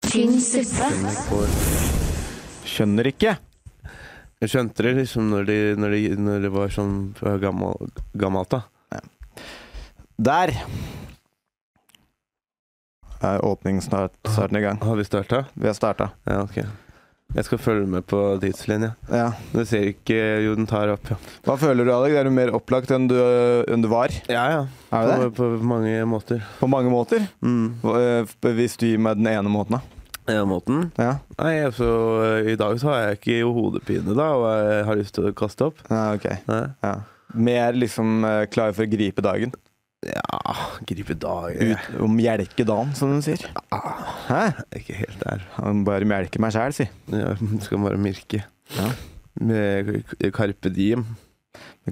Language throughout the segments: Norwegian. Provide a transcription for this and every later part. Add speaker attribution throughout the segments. Speaker 1: Tynn suppe.
Speaker 2: Skjønner ikke.
Speaker 3: Jeg skjønte det liksom når de, når de, når de var sånn eh, gammel, gammelt, da.
Speaker 2: Der er åpningen snart, snart i gang.
Speaker 3: Har vi starta?
Speaker 2: Vi har starta.
Speaker 3: Ja, ok. Jeg skal følge med på tidslinja.
Speaker 2: Ja.
Speaker 3: Du ser ikke Jo, den tar opp, ja.
Speaker 2: Hva føler du, Alek? Er du mer opplagt enn du, enn du var?
Speaker 3: Ja, ja.
Speaker 2: Er du
Speaker 3: På,
Speaker 2: det?
Speaker 3: på mange måter.
Speaker 2: På mange måter.
Speaker 3: Mm.
Speaker 2: Hva- eh, Hvis du gir meg den ene måten, da.
Speaker 3: Ja, måten?
Speaker 2: Ja.
Speaker 3: Nei, altså, i dag så har jeg ikke hodepine, da, og jeg har lyst til å kaste opp.
Speaker 2: ja, ok.
Speaker 3: Nei.
Speaker 2: Ja. Mer liksom eh, klar for å gripe dagen.
Speaker 3: Ja, gripe dagen
Speaker 2: Ut, og melke dagen, som de sier. Hæ?
Speaker 3: Ikke helt der.
Speaker 2: Han bare melker meg sjæl, si.
Speaker 3: Ja, skal bare mirke.
Speaker 2: Ja.
Speaker 3: Med Carpe Diem.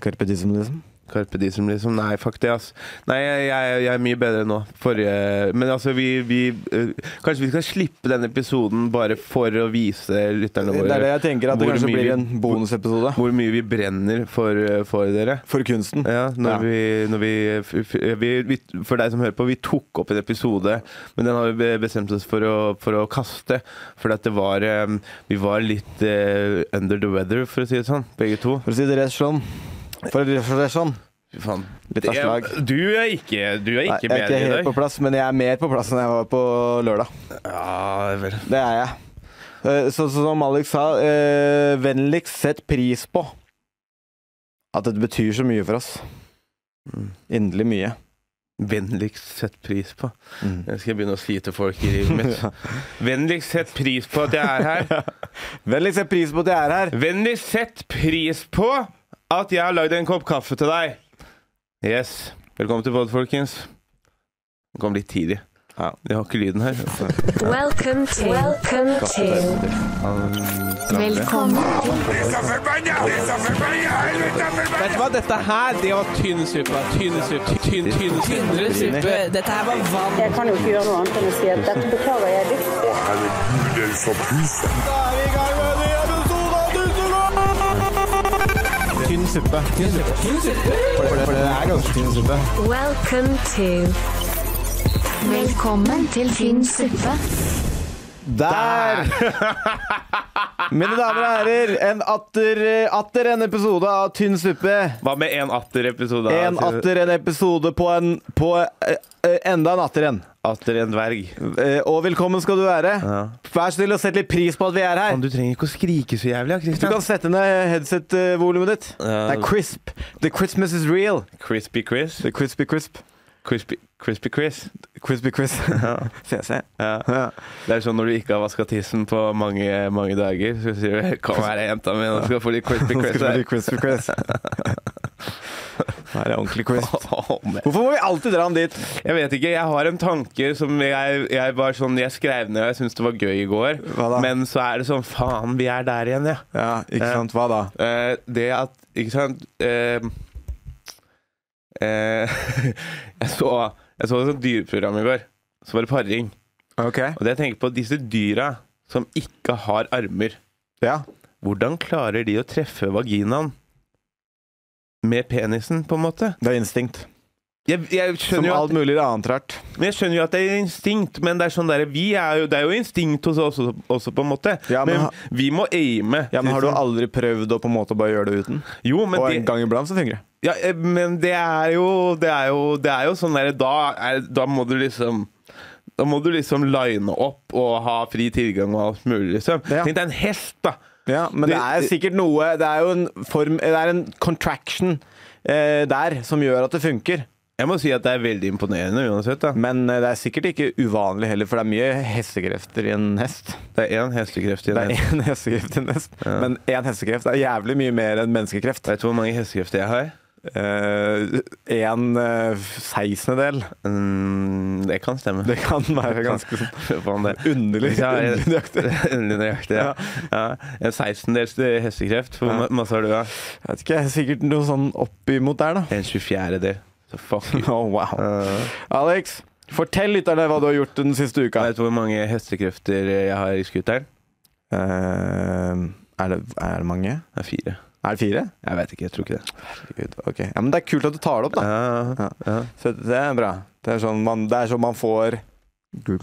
Speaker 2: Carpe diem, liksom.
Speaker 3: Carpe Diem, liksom. Nei, fuck det, ass. Nei, jeg, jeg, jeg er mye bedre nå. Forrige Men altså, vi, vi eh, Kanskje vi skal slippe denne episoden bare for å vise lytterne
Speaker 2: Det er
Speaker 3: våre
Speaker 2: det jeg tenker, at det
Speaker 3: Hvor
Speaker 2: kanskje
Speaker 3: mye
Speaker 2: blir
Speaker 3: vi-
Speaker 2: en bonusepisode.
Speaker 3: hvor mye vi brenner for, eh, for dere.
Speaker 2: For kunsten.
Speaker 3: Ja, når
Speaker 2: Ja.
Speaker 3: Vi, når vi, f- f- vi, vi For deg som hører på, vi tok opp en episode, men den har vi be- bestemt oss for å, for å kaste. Fordi at det var eh, Vi var litt eh, under the weather, for å si det sånn, begge to.
Speaker 2: For å si det rett sånn. For å si det sånn.
Speaker 3: Fy faen.
Speaker 2: Litt av slag.
Speaker 3: Jeg- Du er ikke, du er
Speaker 2: Nei, jeg er
Speaker 3: ikke bedre
Speaker 2: ikke
Speaker 3: i
Speaker 2: helt
Speaker 3: dag.
Speaker 2: på plass, men jeg er mer på plass enn jeg var på lørdag.
Speaker 3: Ja vel.
Speaker 2: Det er jeg. Eh, Så, så som Alex sa, eh, vennligst sett pris på at dette betyr så mye for oss.
Speaker 3: Mm.
Speaker 2: Inderlig mye.
Speaker 3: Vennligst sett pris på.
Speaker 2: Mm.
Speaker 3: Det skal jeg begynne å si til folk i livet mitt. Vennligst sett pris på at jeg er her.
Speaker 2: Vennligst sett pris på at jeg er her.
Speaker 3: Vennligst sett pris på at jeg har lagd en kopp kaffe til deg. Yes. Velkommen til pod, folkens. Den kom litt tidlig.
Speaker 2: Ja.
Speaker 3: Jeg har ikke lyden her.
Speaker 1: Welcome to Welcome to Velkommen
Speaker 4: Vet du hva, dette her, det var tynn suppe. Tynn suppe. Tynn, tynn, tynnere suppe. Dette her var vann.
Speaker 5: Jeg kan jo ikke gjøre noe annet enn å si at dette beklager jeg dypt.
Speaker 2: Tynn suppe. Tynn suppe. For, det, for det er ganske tynn suppe.
Speaker 1: Welcome to Velkommen til tynn suppe.
Speaker 2: Der! Mine damer og herrer, en atter, atter en episode av Tynn suppe.
Speaker 3: Hva med en Altså, atter-episode?
Speaker 2: En atter en episode på en På eh, eh, enda en atter en.
Speaker 3: Atter en dverg.
Speaker 2: Eh, Og velkommen skal du være.
Speaker 3: Ja.
Speaker 2: Vær så snill og sett litt pris på at vi er her.
Speaker 3: Du trenger ikke å skrike så jævlig, ja,
Speaker 2: Du kan
Speaker 3: Christian.
Speaker 2: sette ned headset-volumet ditt.
Speaker 3: Ja.
Speaker 2: Det er crisp. The Christmas is real.
Speaker 3: Crispy Chris.
Speaker 2: The crispy crisp.
Speaker 3: Crispy, crispy Chris.
Speaker 2: Crispy crisp. Ses jeg.
Speaker 3: Ja.
Speaker 2: Ja.
Speaker 3: Det er sånn når du ikke har vaska tissen på mange, mange dager, så sier du 'kom her, jenta mi, nå skal du få litt crispy
Speaker 2: Nå
Speaker 3: crisp
Speaker 2: skal det
Speaker 3: her'.
Speaker 2: bli crispy crisp. Nå er det ordentlig crisp.
Speaker 3: Åh, men.
Speaker 2: Hvorfor må vi alltid dra ham dit?
Speaker 3: Jeg vet ikke. Jeg har en tanke som jeg, jeg var sånn Jeg skrev ned, og jeg syntes det var gøy i går.
Speaker 2: Hva da?
Speaker 3: Men så er det sånn Faen, vi er der igjen, ja.
Speaker 2: Ja, ikke
Speaker 3: Eh.
Speaker 2: sant. Hva da?
Speaker 3: Eh, det at Ikke sant eh, eh, Jeg så Jeg så et sånt dyreprogram i går. Så var det paring.
Speaker 2: Ok.
Speaker 3: Og det jeg tenker på, disse dyra som ikke har armer,
Speaker 2: Ja.
Speaker 3: hvordan klarer de å treffe vaginaen? Med penisen, på en måte.
Speaker 2: Det er instinkt.
Speaker 3: Jeg, jeg,
Speaker 2: Som
Speaker 3: skjønner jo
Speaker 2: alt
Speaker 3: at,
Speaker 2: mulig annet rart.
Speaker 3: men jeg skjønner jo at det er instinkt, men det er, sånn der, vi er, jo, det er jo instinkt hos oss også, også på en måte.
Speaker 2: Ja, men
Speaker 3: men,
Speaker 2: ha-
Speaker 3: vi må aime. liksom.
Speaker 2: Ja, men Har du aldri prøvd å på en måte bare gjøre det uten?
Speaker 3: Jo, men
Speaker 2: Og
Speaker 3: det-
Speaker 2: en gang iblant så fungerer det.
Speaker 3: Ja, eh, men det er jo Det er jo, det er jo sånn derre da, er- da må du liksom da må du liksom line opp og ha fri tilgang og alt mulig. liksom.
Speaker 2: Ja.
Speaker 3: Tenk deg en hest, da!
Speaker 2: Ja, men det er sikkert noe Det er jo en form Det er en contraction eh, der som gjør at det funker.
Speaker 3: Jeg må si at det er veldig imponerende uansett. da.
Speaker 2: Men eh, det er sikkert ikke uvanlig heller, for det er mye hestekrefter i en hest.
Speaker 3: Det er én hestekreft i
Speaker 2: Det
Speaker 3: en
Speaker 2: er
Speaker 3: hest.
Speaker 2: én hestekreft i en hest, men én hestekreft er jævlig mye mer enn menneskekreft.
Speaker 3: Vet du hvor mange hestekrefter jeg har?
Speaker 2: Eh, en eh, sekstendedel.
Speaker 3: Mm, det kan stemme.
Speaker 2: Det kan være ganske sånn
Speaker 3: Faen, det.
Speaker 2: underlig.
Speaker 3: Ja, jeg-
Speaker 2: underlig nøyaktig.
Speaker 3: Underlig nøyaktig, ja. ja. En 16-dels hestekreft. Hvor
Speaker 2: Ja.
Speaker 3: ma- masse har du, da?
Speaker 2: Jeg vet ikke, sikkert noe sånn oppimot der, da.
Speaker 3: En 24. del. Så fuck you.
Speaker 2: Oh, wow.
Speaker 3: Eh,
Speaker 2: Alex, fortell lytterne hva du har gjort den siste uka.
Speaker 3: vet du hvor mange hestekrefter jeg har i skuteren?
Speaker 2: Eh, er, det, er det mange?
Speaker 3: Det er fire.
Speaker 2: Er det fire?
Speaker 3: Jeg vet ikke, jeg tror ikke det.
Speaker 2: Herregud, ok. Ja, men det er kult at du tar det opp, da.
Speaker 3: Ja, ja.
Speaker 2: Så det er bra. Det er sånn man, det er sånn man får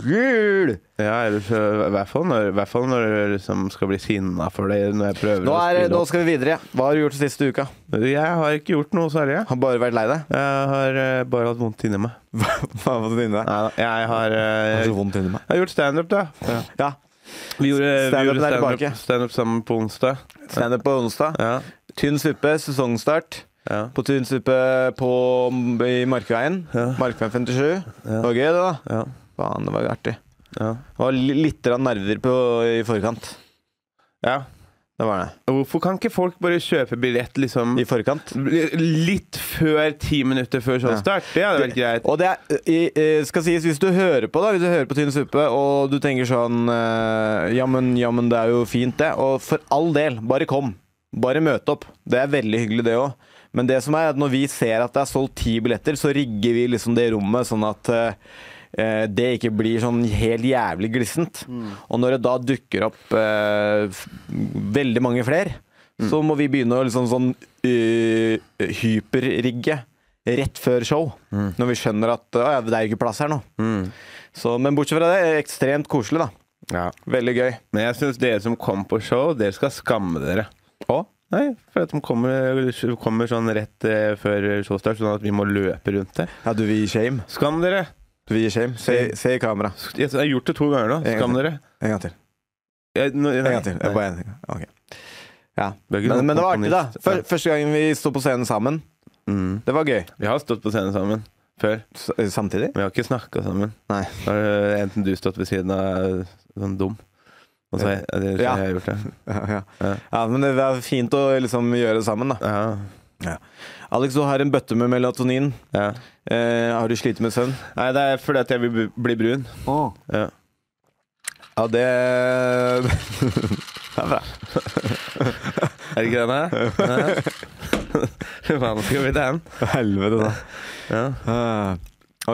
Speaker 2: Gul!
Speaker 3: Ja, eller så, i hvert fall når, i hvert fall når du liksom skal bli sinna for det når jeg prøver
Speaker 2: Nå,
Speaker 3: å
Speaker 2: er,
Speaker 3: spille
Speaker 2: nå
Speaker 3: opp.
Speaker 2: skal vi videre. Hva har du gjort den siste uka?
Speaker 3: Jeg har ikke gjort noe særlig. jeg.
Speaker 2: Har bare vært lei deg?
Speaker 3: Jeg har eh, bare hatt vondt inni meg.
Speaker 2: Hva hva var det inni deg?
Speaker 3: Neida, Jeg har, eh,
Speaker 2: Har du vondt inni meg?
Speaker 3: jeg har gjort standup, da.
Speaker 2: Ja.
Speaker 3: Vi
Speaker 2: Stand-upen
Speaker 3: gjorde vi gjorde
Speaker 2: er
Speaker 3: stand-up
Speaker 2: tilbake.
Speaker 3: stand sammen på onsdag.
Speaker 2: Standup på onsdag.
Speaker 3: Ja,
Speaker 2: Tynn suppe, sesongstart.
Speaker 3: ja.
Speaker 2: På Tynn suppe på, i Markveien.
Speaker 3: Ja.
Speaker 2: Markveien 57. Det var gøy, det, da.
Speaker 3: Ja.
Speaker 2: Faen, det var artig.
Speaker 3: Ja.
Speaker 2: Det var li- litt grann nerver på, i forkant.
Speaker 3: ja.
Speaker 2: Det var det.
Speaker 3: Hvorfor kan ikke folk bare kjøpe billett liksom
Speaker 2: I forkant.
Speaker 3: litt før ti minutter
Speaker 2: Ja.
Speaker 3: før showstart? Det hadde vært greit.
Speaker 2: Og det er, i- i- skal sies, hvis du hører på da, hvis du hører på Tynn suppe, og du tenker sånn eh, Jammen, jammen, det er jo fint, det. Og for all del, bare kom. Bare møt opp. Det er veldig hyggelig, det òg. Men det som er at når vi ser at det er solgt ti billetter, så rigger vi liksom det rommet sånn at eh, eh, det ikke blir sånn helt jævlig glissent. Og når det da dukker opp eh, f- veldig mange flere, så må vi begynne å liksom sånn eh, hyperrigge rett før show. Når vi skjønner at «Å ja, det er jo ikke plass her nå. Så, men bortsett fra det, ekstremt koselig, da.
Speaker 3: Ja.
Speaker 2: Veldig gøy.
Speaker 3: Men jeg syns dere som kom på show, dere skal skamme dere.
Speaker 2: Å?
Speaker 3: Nei, for at de kommer, kommer sånn rett eh, før showstart, sånn at vi må løpe rundt det.
Speaker 2: Ja, du, vi gir shame.
Speaker 3: Skam dere!
Speaker 2: Vi gir shame. Se, se i kamera.
Speaker 3: Jeg har gjort det to ganger nå.
Speaker 2: En gang
Speaker 3: Skam
Speaker 2: til.
Speaker 3: dere.
Speaker 2: En gang til.
Speaker 3: Jeg- nå-
Speaker 2: En
Speaker 3: nei,
Speaker 2: gang til.
Speaker 3: nei.
Speaker 2: Bare en gang. Ok. Ja.
Speaker 3: Det er ikke
Speaker 2: Men,
Speaker 3: noe
Speaker 2: men det var artig, da.
Speaker 3: komponist.
Speaker 2: Før- Første gangen vi sto på scenen sammen.
Speaker 3: Mm.
Speaker 2: Det var gøy.
Speaker 3: Vi har stått på scenen sammen før.
Speaker 2: S eh, samtidig?
Speaker 3: Vi har ikke snakka sammen.
Speaker 2: Nei.
Speaker 3: Da har eh, enten du stått ved siden av eh, sånn dum, og så har jeg, eller så
Speaker 2: Ja.
Speaker 3: har jeg gjort det.
Speaker 2: Ja.
Speaker 3: Ja.
Speaker 2: ja, men det var fint å liksom gjøre det sammen, da.
Speaker 3: Ja.
Speaker 2: Alex, du har en bøtte med melatonin.
Speaker 3: ja.
Speaker 2: Eh, har du slitt med søvn?
Speaker 3: Nei, det er fordi at jeg vil bli- bli brun. Ja.
Speaker 2: Ja, det Det er bra.
Speaker 3: Er det ikke den her? Hva nå skal vi til den?
Speaker 2: Helvete, da.
Speaker 3: Ja.
Speaker 2: Ah,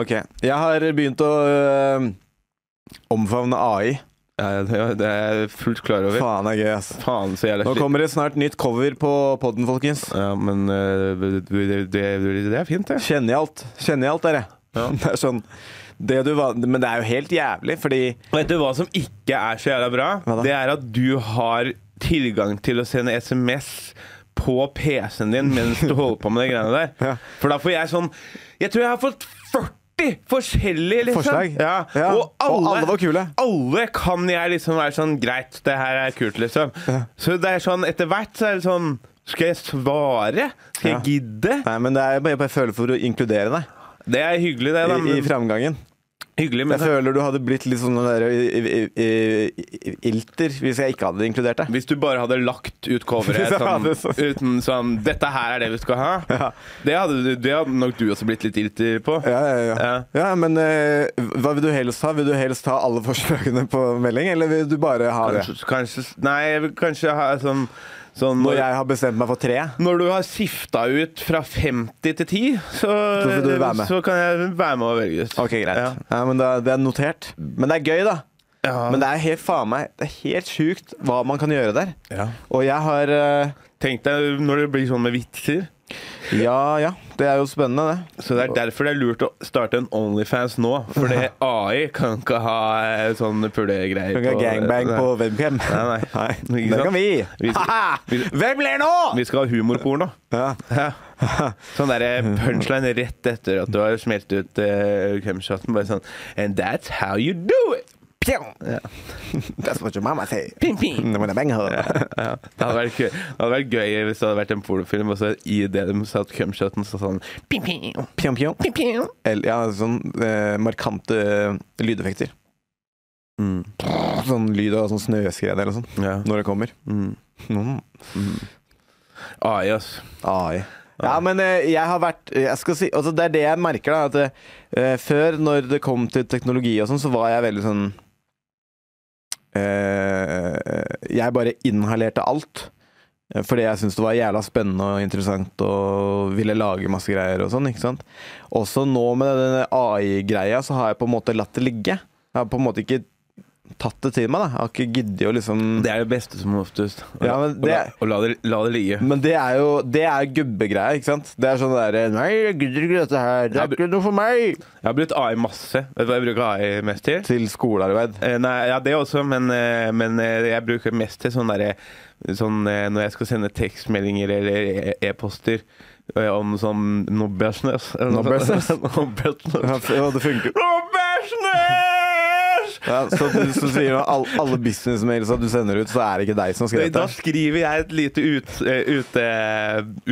Speaker 2: Ok. Jeg har begynt å øh, omfavne AI.
Speaker 3: Ja, det er- det er jeg fullt klar over.
Speaker 2: Faen, det er gøy, ass.
Speaker 3: Faen så jævla
Speaker 2: Nå
Speaker 3: slitt.
Speaker 2: kommer det snart nytt cover på podden, folkens.
Speaker 3: Ja, men eh, det, det, det, det er fint, det.
Speaker 2: Kjenner jeg alt. Kjenner jeg alt, dere.
Speaker 3: Ja.
Speaker 2: Det er sånn det du var, Men det er jo helt jævlig, fordi
Speaker 3: Vet du hva som ikke er så jævla bra?
Speaker 2: Hva da?
Speaker 3: Det er at du har tilgang til å sende SMS på PC-en din mens du holder på med de greiene der.
Speaker 2: Ja.
Speaker 3: For da får jeg sånn Jeg tror jeg har fått 40 forskjellige liksom.
Speaker 2: Forslag?
Speaker 3: Ja.
Speaker 2: Ja.
Speaker 3: Og, alle,
Speaker 2: Og alle var kule.
Speaker 3: Alle kan jeg liksom være sånn Greit, det her er kult, liksom. Så det er sånn etter hvert så er det sånn Skal jeg svare? Skal jeg
Speaker 2: Ja.
Speaker 3: gidde?
Speaker 2: Nei, men det er bare jeg bare føler for å inkludere deg
Speaker 3: Det er hyggelig, det, da.
Speaker 2: i, i
Speaker 3: Men,
Speaker 2: framgangen.
Speaker 3: hyggelig,
Speaker 2: Jeg
Speaker 3: men
Speaker 2: føler du hadde blitt litt sånn der, i, i, i, i, ilter hvis jeg ikke hadde inkludert deg.
Speaker 3: Hvis du bare hadde lagt ut coveret
Speaker 2: Hvis jeg
Speaker 3: sånn,
Speaker 2: hadde sånn.
Speaker 3: uten sånn 'Dette her er det vi skal ha',
Speaker 2: Ja.
Speaker 3: det, hadde, du- det hadde nok du også blitt litt irriter på.
Speaker 2: Ja, ja, ja. ja.
Speaker 3: Ja.
Speaker 2: men eh, hva vil du helst ha? Vil du helst ha alle forslagene på melding, eller vil du bare ha det?
Speaker 3: Kanskje, kanskje Nei, jeg vil kanskje ha sånn, sånn
Speaker 2: Når
Speaker 3: når,
Speaker 2: jeg har bestemt meg for tre?
Speaker 3: når du har sifta ut fra 50 til 10, så,
Speaker 2: Så får du være med.
Speaker 3: så kan jeg være med og velges.
Speaker 2: Ok, greit. Ja.
Speaker 3: Ja.
Speaker 2: men det, er- det er notert. Men det er gøy, da.
Speaker 3: Ja.
Speaker 2: Men det er helt faen meg Det er helt sjukt hva man kan gjøre der.
Speaker 3: Ja.
Speaker 2: Og jeg har eh,
Speaker 3: Tenk deg når det blir sånn med vitser.
Speaker 2: Ja ja, det er jo spennende, det.
Speaker 3: Så det er derfor det er lurt å starte en Onlyfans nå. For det AI kan ikke ha eh, sånn pulegreier eh,
Speaker 2: Du kan ikke ha gangbang
Speaker 3: Nei.
Speaker 2: på webcam.
Speaker 3: Nei, nei.
Speaker 2: nei. Det kan vi.
Speaker 3: Vi-
Speaker 2: Haha!
Speaker 3: vi-
Speaker 2: Hvem ler nå?!
Speaker 3: Vi skal ha humorporno.
Speaker 2: Ja.
Speaker 3: Ja. Sånn der punchline rett etter at du har smelt ut uh, cumshoten. Bare sånn And that's how you do it!
Speaker 2: Pjong! That's what your mama say.
Speaker 3: Ping, ping.
Speaker 2: When I bang her.
Speaker 3: Ja. Det, hadde vært gøy. det hadde vært gøy hvis det hadde vært en pornofilm, og så i det de satt cumshoten, så sånn ping, ping,
Speaker 2: Pjong, pjong.
Speaker 3: ping, ping.
Speaker 2: Eller, ja, sånn eh, markante eh, lydeffekter.
Speaker 3: Mm.
Speaker 2: Sånn lyd av sånn snøskred eller sånn
Speaker 3: Ja.
Speaker 2: når det kommer.
Speaker 3: Mm.
Speaker 2: Mm.
Speaker 3: AI, ass.
Speaker 2: AI. Ja, men eh, jeg har vært jeg skal si, altså Det er det jeg merker. da at eh, Før, når det kom til teknologi og sånn, så var jeg veldig sånn eh, Jeg bare inhalerte alt. eh, Fordi jeg syntes det var jævla spennende og interessant og ville lage masse greier og sånn. ikke sant? Også nå med denne AI-greia så har jeg på en måte latt det ligge. Jeg har på en måte ikke tatt det til meg. da Jeg har ikke giddet å liksom
Speaker 3: Det er det beste som oftest. Å,
Speaker 2: Ja, men
Speaker 3: å la,
Speaker 2: det-
Speaker 3: å la, det, la det ligge.
Speaker 2: Men det er jo Det er gubbegreia, ikke sant? Det er sånn derre Nei, jeg gidder ikke dette her. Det er ikke noe for meg!
Speaker 3: Jeg har brukt AI masse. Vet du hva jeg bruker AI mest til?
Speaker 2: Til skolearbeid.
Speaker 3: Eh, Nei, ja, det også, men, eh, men eh, jeg bruker mest til sånn derre sånn, eh, Når jeg skal sende tekstmeldinger eller e- e-poster eh, om sånn no business. eller
Speaker 2: No
Speaker 3: noe
Speaker 2: business?
Speaker 3: sånt. no business.
Speaker 2: Ja, f- ja, det funker.
Speaker 3: No business!
Speaker 2: Ja, så du så sier at alle, alle businessmailsa du sender ut, så er det ikke deg som har skrevet
Speaker 3: Da
Speaker 2: det?
Speaker 3: skriver jeg et lite ut, eh, ute,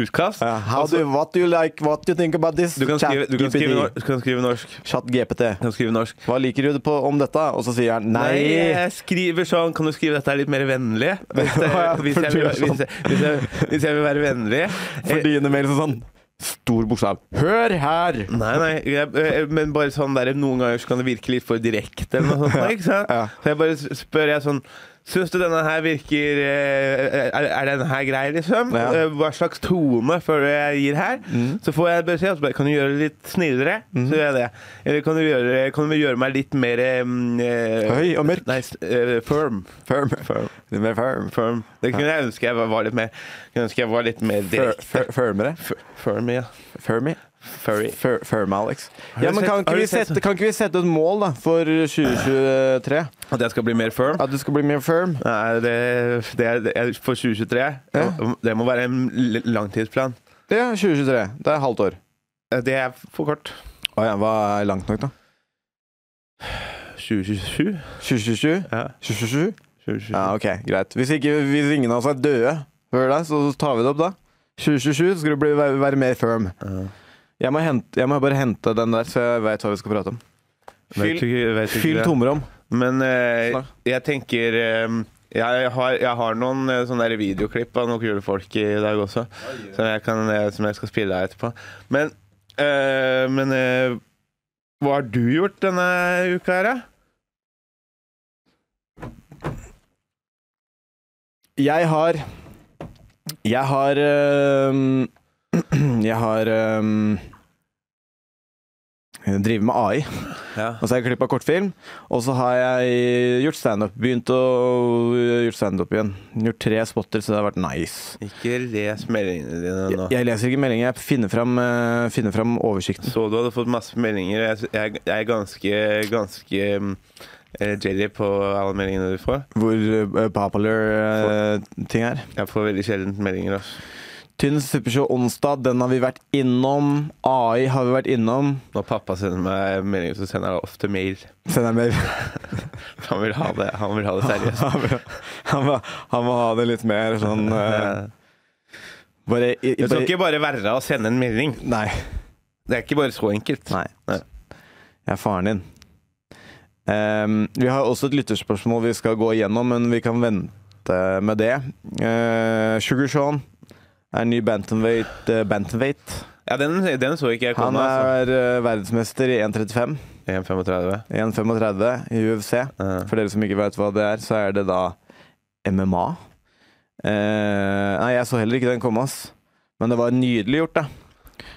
Speaker 3: utkast.
Speaker 2: Ja, how
Speaker 3: og så-
Speaker 2: do, what do you like? What do you think about this?
Speaker 3: Altså- du, kan skrive, du, kan
Speaker 2: ChatGPT.
Speaker 3: skrive, nor- du kan skrive norsk.
Speaker 2: ChatGPT.
Speaker 3: Du kan skrive norsk.
Speaker 2: Hva liker du på, om dette? Og så sier han nei.
Speaker 3: jeg skriver sånn Kan du skrive dette her litt mer vennlig? Hvis, eh,
Speaker 2: Ja,
Speaker 3: hvis, jeg, vil,
Speaker 2: for du er sånn.
Speaker 3: hvis, jeg, hvis, jeg, hvis jeg vil være vennlig. Eh,
Speaker 2: For dine mails er sånn stor bokstav. Hør her!
Speaker 3: Nei, nei, jeg, eh, men bare sånn der Noen ganger så kan det virke litt for direkte eller noe sånt. Ikke sant?
Speaker 2: Ja.
Speaker 3: Så jeg bare s- spør jeg sånn Syns du denne her virker eh, Er, er denne her grei, liksom?
Speaker 2: Ja. Mm.
Speaker 3: Eh, Hva slags tone føler du jeg gir her? Så får jeg beskjed og så bare Kan du gjøre det litt snillere? Så gjør jeg det. Eller kan du gjøre, kan du gjøre meg litt mer mm, eh,
Speaker 2: Høy og mørk.
Speaker 3: Nei, s- eh, firm.
Speaker 2: Firm.
Speaker 3: Firm.
Speaker 2: Litt mer firm.
Speaker 3: Firm. Det kunne jeg ønske jeg var- var litt mer Kunne ønske jeg var litt mer
Speaker 2: Fir-
Speaker 3: direkte.
Speaker 2: fir- Firmere?
Speaker 3: Fir- Firm, ja.
Speaker 2: Firmy?
Speaker 3: Furry.
Speaker 2: Fir- Firme, Alex.
Speaker 3: du
Speaker 2: Ja, men kan
Speaker 3: sett- har
Speaker 2: ikke,
Speaker 3: du
Speaker 2: vi
Speaker 3: sett- sånn-
Speaker 2: sette, kan ikke vi sette et mål da for 2023?
Speaker 3: At jeg skal bli mer firm?
Speaker 2: At du skal bli mer firm?
Speaker 3: Nei, det, det er, det er for 2023.
Speaker 2: Ja.
Speaker 3: Det må være en l- langtidsplan.
Speaker 2: Ja, 2023. Det er halvt år.
Speaker 3: Det er for kort.
Speaker 2: Å ja, hva er langt nok, da?
Speaker 3: 2027?
Speaker 2: 2027?
Speaker 3: Ja.
Speaker 2: 2027?
Speaker 3: 2027.
Speaker 2: Ja, ok, greit. Hvis, ikke, hvis ingen av oss er døde før deg, så tar vi det opp da. 2027 skal du bli, være, være mer firm.
Speaker 3: Ja.
Speaker 2: Jeg må, hente, jeg må bare hente den der, så jeg veit hva vi skal prate om. Fyll,
Speaker 3: Vet ikke- vet ikke
Speaker 2: fyll
Speaker 3: det.
Speaker 2: tomrom.
Speaker 3: Men eh,
Speaker 2: Snakk.
Speaker 3: jeg tenker eh, jeg, har, jeg har noen eh, sånne der videoklipp av noen kule folk i dag også, som, jeg kan, eh, som jeg skal spille av etterpå. Men, eh, men eh, hva har du gjort denne uka her, da?
Speaker 2: Jeg har Jeg har øhm, Jeg har øhm, jeg driver med AI.
Speaker 3: Ja.
Speaker 2: Og så har jeg klippa kortfilm. Og så har jeg gjort standup. Begynt å gjort standup igjen. Gjort tre spotter, så det har vært nice.
Speaker 3: Ikke les meldingene dine nå.
Speaker 2: Jeg, jeg leser ikke meldinger, jeg finner fram, øh, finner fram oversikten.
Speaker 3: Så du hadde fått masse meldinger. Jeg, jeg, jeg er ganske, ganske mm, eh, jelly på alle meldingene du får.
Speaker 2: Hvor øh, popular øh, ting er.
Speaker 3: Jeg får veldig sjelden meldinger. Altså.
Speaker 2: Tynn suppeshow onsdag, den har vi vært innom. AI har vi vært innom.
Speaker 3: Når pappa sender meg meldinger, så sender han ofte mail.
Speaker 2: Send deg mer.
Speaker 3: Han vil ha det, han vil ha det seriøst.
Speaker 2: Han vil- han må, han må ha det litt mer sånn eh, Bare, i,
Speaker 3: Det skal
Speaker 2: bare
Speaker 3: ikke bare være å sende en melding.
Speaker 2: Nei.
Speaker 3: Det er ikke bare så enkelt.
Speaker 2: Nei.
Speaker 3: Nei.
Speaker 2: Jeg er faren din. Ehm, vi har også et lytterspørsmål vi skal gå igjennom, men vi kan vente med det. Eh, Sugar Sean er ny bantamweight. eh, bantamweight.
Speaker 3: Ja, den, den så ikke jeg
Speaker 2: Han
Speaker 3: komme. Altså.
Speaker 2: er eh, verdensmester i 1.35.
Speaker 3: 1,35.
Speaker 2: 1,35 i UFC.
Speaker 3: Ja.
Speaker 2: For dere som ikke vet hva det er, så er det da MMA. Eh, nei, jeg så heller ikke den komme, ass. Men det var nydelig gjort, da.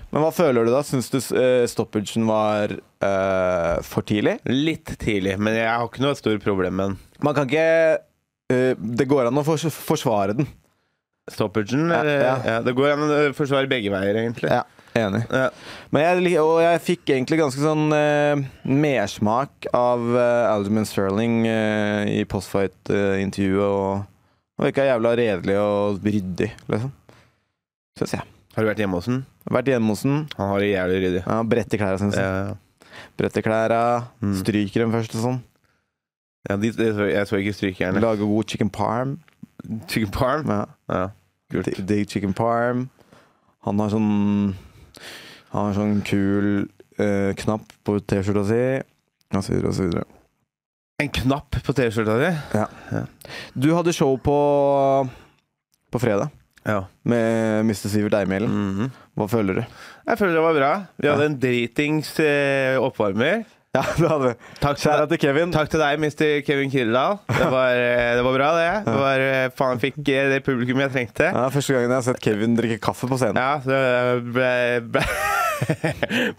Speaker 2: Men hva føler du da? Syns du eh, stoppagen var eh, for tidlig?
Speaker 3: Litt tidlig, men jeg har ikke noe stort problem med den.
Speaker 2: Man kan ikke eh, Det går an å fors forsvare den.
Speaker 3: Stoppagen
Speaker 2: Ja,
Speaker 3: eller-
Speaker 2: ja.
Speaker 3: Ja, Det går an å forsvare begge veier, egentlig.
Speaker 2: Ja, Enig.
Speaker 3: Ja.
Speaker 2: Men jeg, lik- og jeg fikk egentlig ganske sånn eh, mersmak av eh, Alderman Sterling eh, i postfight-intervjuet, og han virka jævla redelig og ryddig, liksom. Syns jeg.
Speaker 3: Har du vært hjemme hos den?
Speaker 2: Vært hjemme hos den.
Speaker 3: Han har det jævlig ryddig.
Speaker 2: Ja, brett i klærne, syns jeg.
Speaker 3: Ja, ja.
Speaker 2: Brett i klærne,
Speaker 3: Mm.
Speaker 2: stryker dem først og sånn.
Speaker 3: Ja, de, de, så- jeg så ikke strykejernet.
Speaker 2: Lager god chicken parm.
Speaker 3: Chicken parm?
Speaker 2: Ja.
Speaker 3: Ja. Kult.
Speaker 2: Dig- Digg chicken parm. Han har sånn Han har sånn kul eh, knapp på T-skjorta si, og så videre og så videre.
Speaker 3: En knapp på T-skjorta di?
Speaker 2: Du hadde show på På fredag
Speaker 3: Ja.
Speaker 2: med Mr. Sivert Eimhjellen.
Speaker 3: Mhm.
Speaker 2: Hva føler du?
Speaker 3: Jeg føler det var bra. Vi hadde en dritings eh, oppvarmer.
Speaker 2: Ja, du hadde
Speaker 3: Takk til,
Speaker 2: Kjære til Kevin.
Speaker 3: takk til deg, Mr. Kevin Kildahl. Det, var, eh, det var bra, det. det var, eh, faen, jeg fikk eh, det publikummet jeg trengte.
Speaker 2: Ja, første gangen jeg har sett Kevin drikke kaffe på scenen.
Speaker 3: Ja, så ble, ble,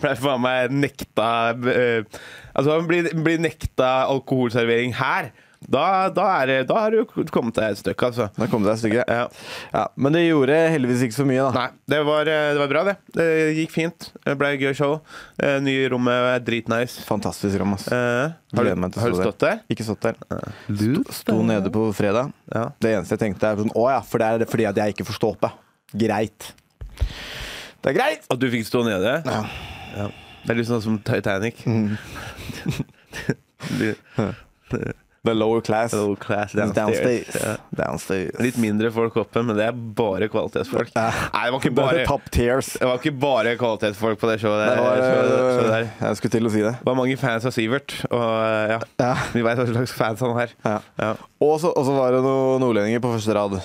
Speaker 3: ble faen meg nekta eh, Altså, han blir, blir nekta alkoholservering her. Da, da, er, det- da har du kommet deg et stykke, altså.
Speaker 2: Da kom det deg stygge.
Speaker 3: Ja.
Speaker 2: Ja, men det gjorde heldigvis ikke så mye, da.
Speaker 3: Nei, det var, eh, det var bra, det. Det gikk fint. Det ble et gøy show. Eh, Nye rommet er dritnice.
Speaker 2: Fantastisk rom, ass.
Speaker 3: Eh, har,
Speaker 2: Gleder meg
Speaker 3: du,
Speaker 2: til å
Speaker 3: har du
Speaker 2: stå
Speaker 3: stått der?
Speaker 2: Ikke stått der. Sto
Speaker 3: Sto
Speaker 2: nede på fredag.
Speaker 3: Ja.
Speaker 2: Det eneste jeg tenkte, er sånn Å ja, for det er fordi at jeg ikke får stå oppe. Greit. Det er greit!
Speaker 3: At du fikk stå nede?
Speaker 2: Ja. Mm.
Speaker 3: Ja. Det er litt sånn som Titanic. Litt-
Speaker 2: The lower class.
Speaker 3: Low class
Speaker 2: Downstairs.
Speaker 3: downstairs. Ja. Litt mindre folk oppe, men det er bare kvalitetsfolk.
Speaker 2: Ja.
Speaker 3: Nei, det var ikke
Speaker 2: Bare
Speaker 3: bare,
Speaker 2: top tiers.
Speaker 3: det var ikke bare kvalitetsfolk på det showet. Der.
Speaker 2: Det var, øh,
Speaker 3: showet- showet der.
Speaker 2: jeg skulle til å si det.
Speaker 3: Det var mange fans av Sivert, og eh, ja,
Speaker 2: Ja.
Speaker 3: vi veit hva slags fans han er.
Speaker 2: Ja.
Speaker 3: Ja,
Speaker 2: Og så og så var det noen nordlendinger på første rad.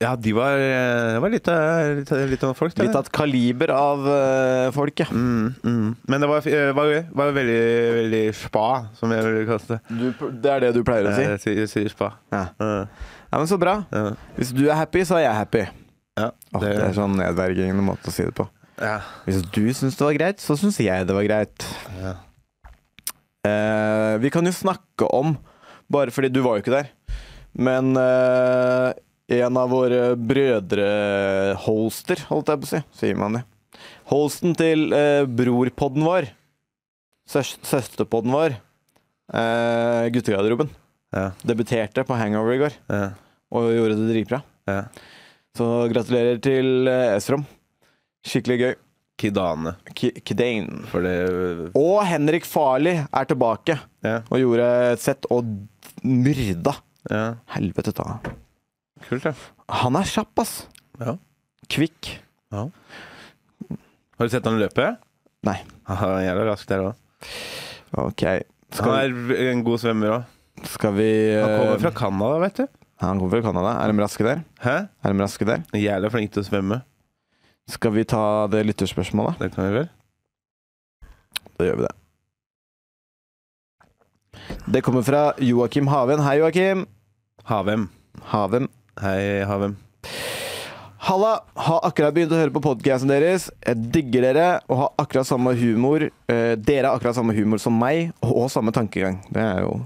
Speaker 3: ja de var, eh, det var litt, av- litt, av- litt av folk. det.
Speaker 2: Litt av et kaliber av uh, folk, ja.
Speaker 3: Mm, mm. Men det var, eh, var, gøy. Det var veldig, veldig spa, som jeg vil kalle det.
Speaker 2: Du, det er det du pleier å si?
Speaker 3: Eh, Jeg sier- jeg sier spa.
Speaker 2: Ja.
Speaker 3: Eh,
Speaker 2: ja, men så bra.
Speaker 3: eh,
Speaker 2: Hvis du er happy, så er jeg happy.
Speaker 3: Ja,
Speaker 2: Åh, det er sånn nedverdigende måte å si det på.
Speaker 3: ja.
Speaker 2: Hvis du syns det var greit, så syns jeg det var greit.
Speaker 3: Ja.
Speaker 2: Eh, vi kan jo snakke om, bare fordi du var jo ikke der, men eh, en av våre brødreholster, holdt jeg på å si, sier man det. Holsten til eh, brorpodden vår, søs søsterpodden vår, eh, guttegarderoben,
Speaker 3: Ja.
Speaker 2: debuterte på Hangover i går
Speaker 3: ja,
Speaker 2: og gjorde det dritbra.
Speaker 3: ja.
Speaker 2: Så gratulerer til eh, Esrom. Skikkelig gøy.
Speaker 3: Kidane,
Speaker 2: K Kdane.
Speaker 3: for det
Speaker 2: Og Henrik Farli er tilbake
Speaker 3: Ja,
Speaker 2: og gjorde et sett og myrda.
Speaker 3: ja.
Speaker 2: Helvete ta. han.
Speaker 3: kult, da.
Speaker 2: Han er kjapp, ass.
Speaker 3: Ja.
Speaker 2: Kvikk.
Speaker 3: Har du sett han løpe?
Speaker 2: Nei.
Speaker 3: Han er jævla rask der òg.
Speaker 2: Ok.
Speaker 3: Han
Speaker 2: Skal,
Speaker 3: er en god svømmer òg.
Speaker 2: skal vi
Speaker 3: Han kommer
Speaker 2: eh,
Speaker 3: fra Canada, vet du.
Speaker 2: Han kommer fra Canada. Er de raske der?
Speaker 3: Hæ?
Speaker 2: Er de raske der?
Speaker 3: Jævla flink til å svømme.
Speaker 2: Skal vi ta det lytterspørsmålet?
Speaker 3: Det kan vi vel?
Speaker 2: Da gjør vi det. Det kommer fra Joakim Haven. Hei, Joakim.
Speaker 3: Havem.
Speaker 2: Haven.
Speaker 3: Hei, Havem.
Speaker 2: Halla! Har akkurat begynt å høre på podkasten deres. Jeg digger dere og har akkurat samme humor. Eh, dere har akkurat samme humor som meg, og samme tankegang. Det er jo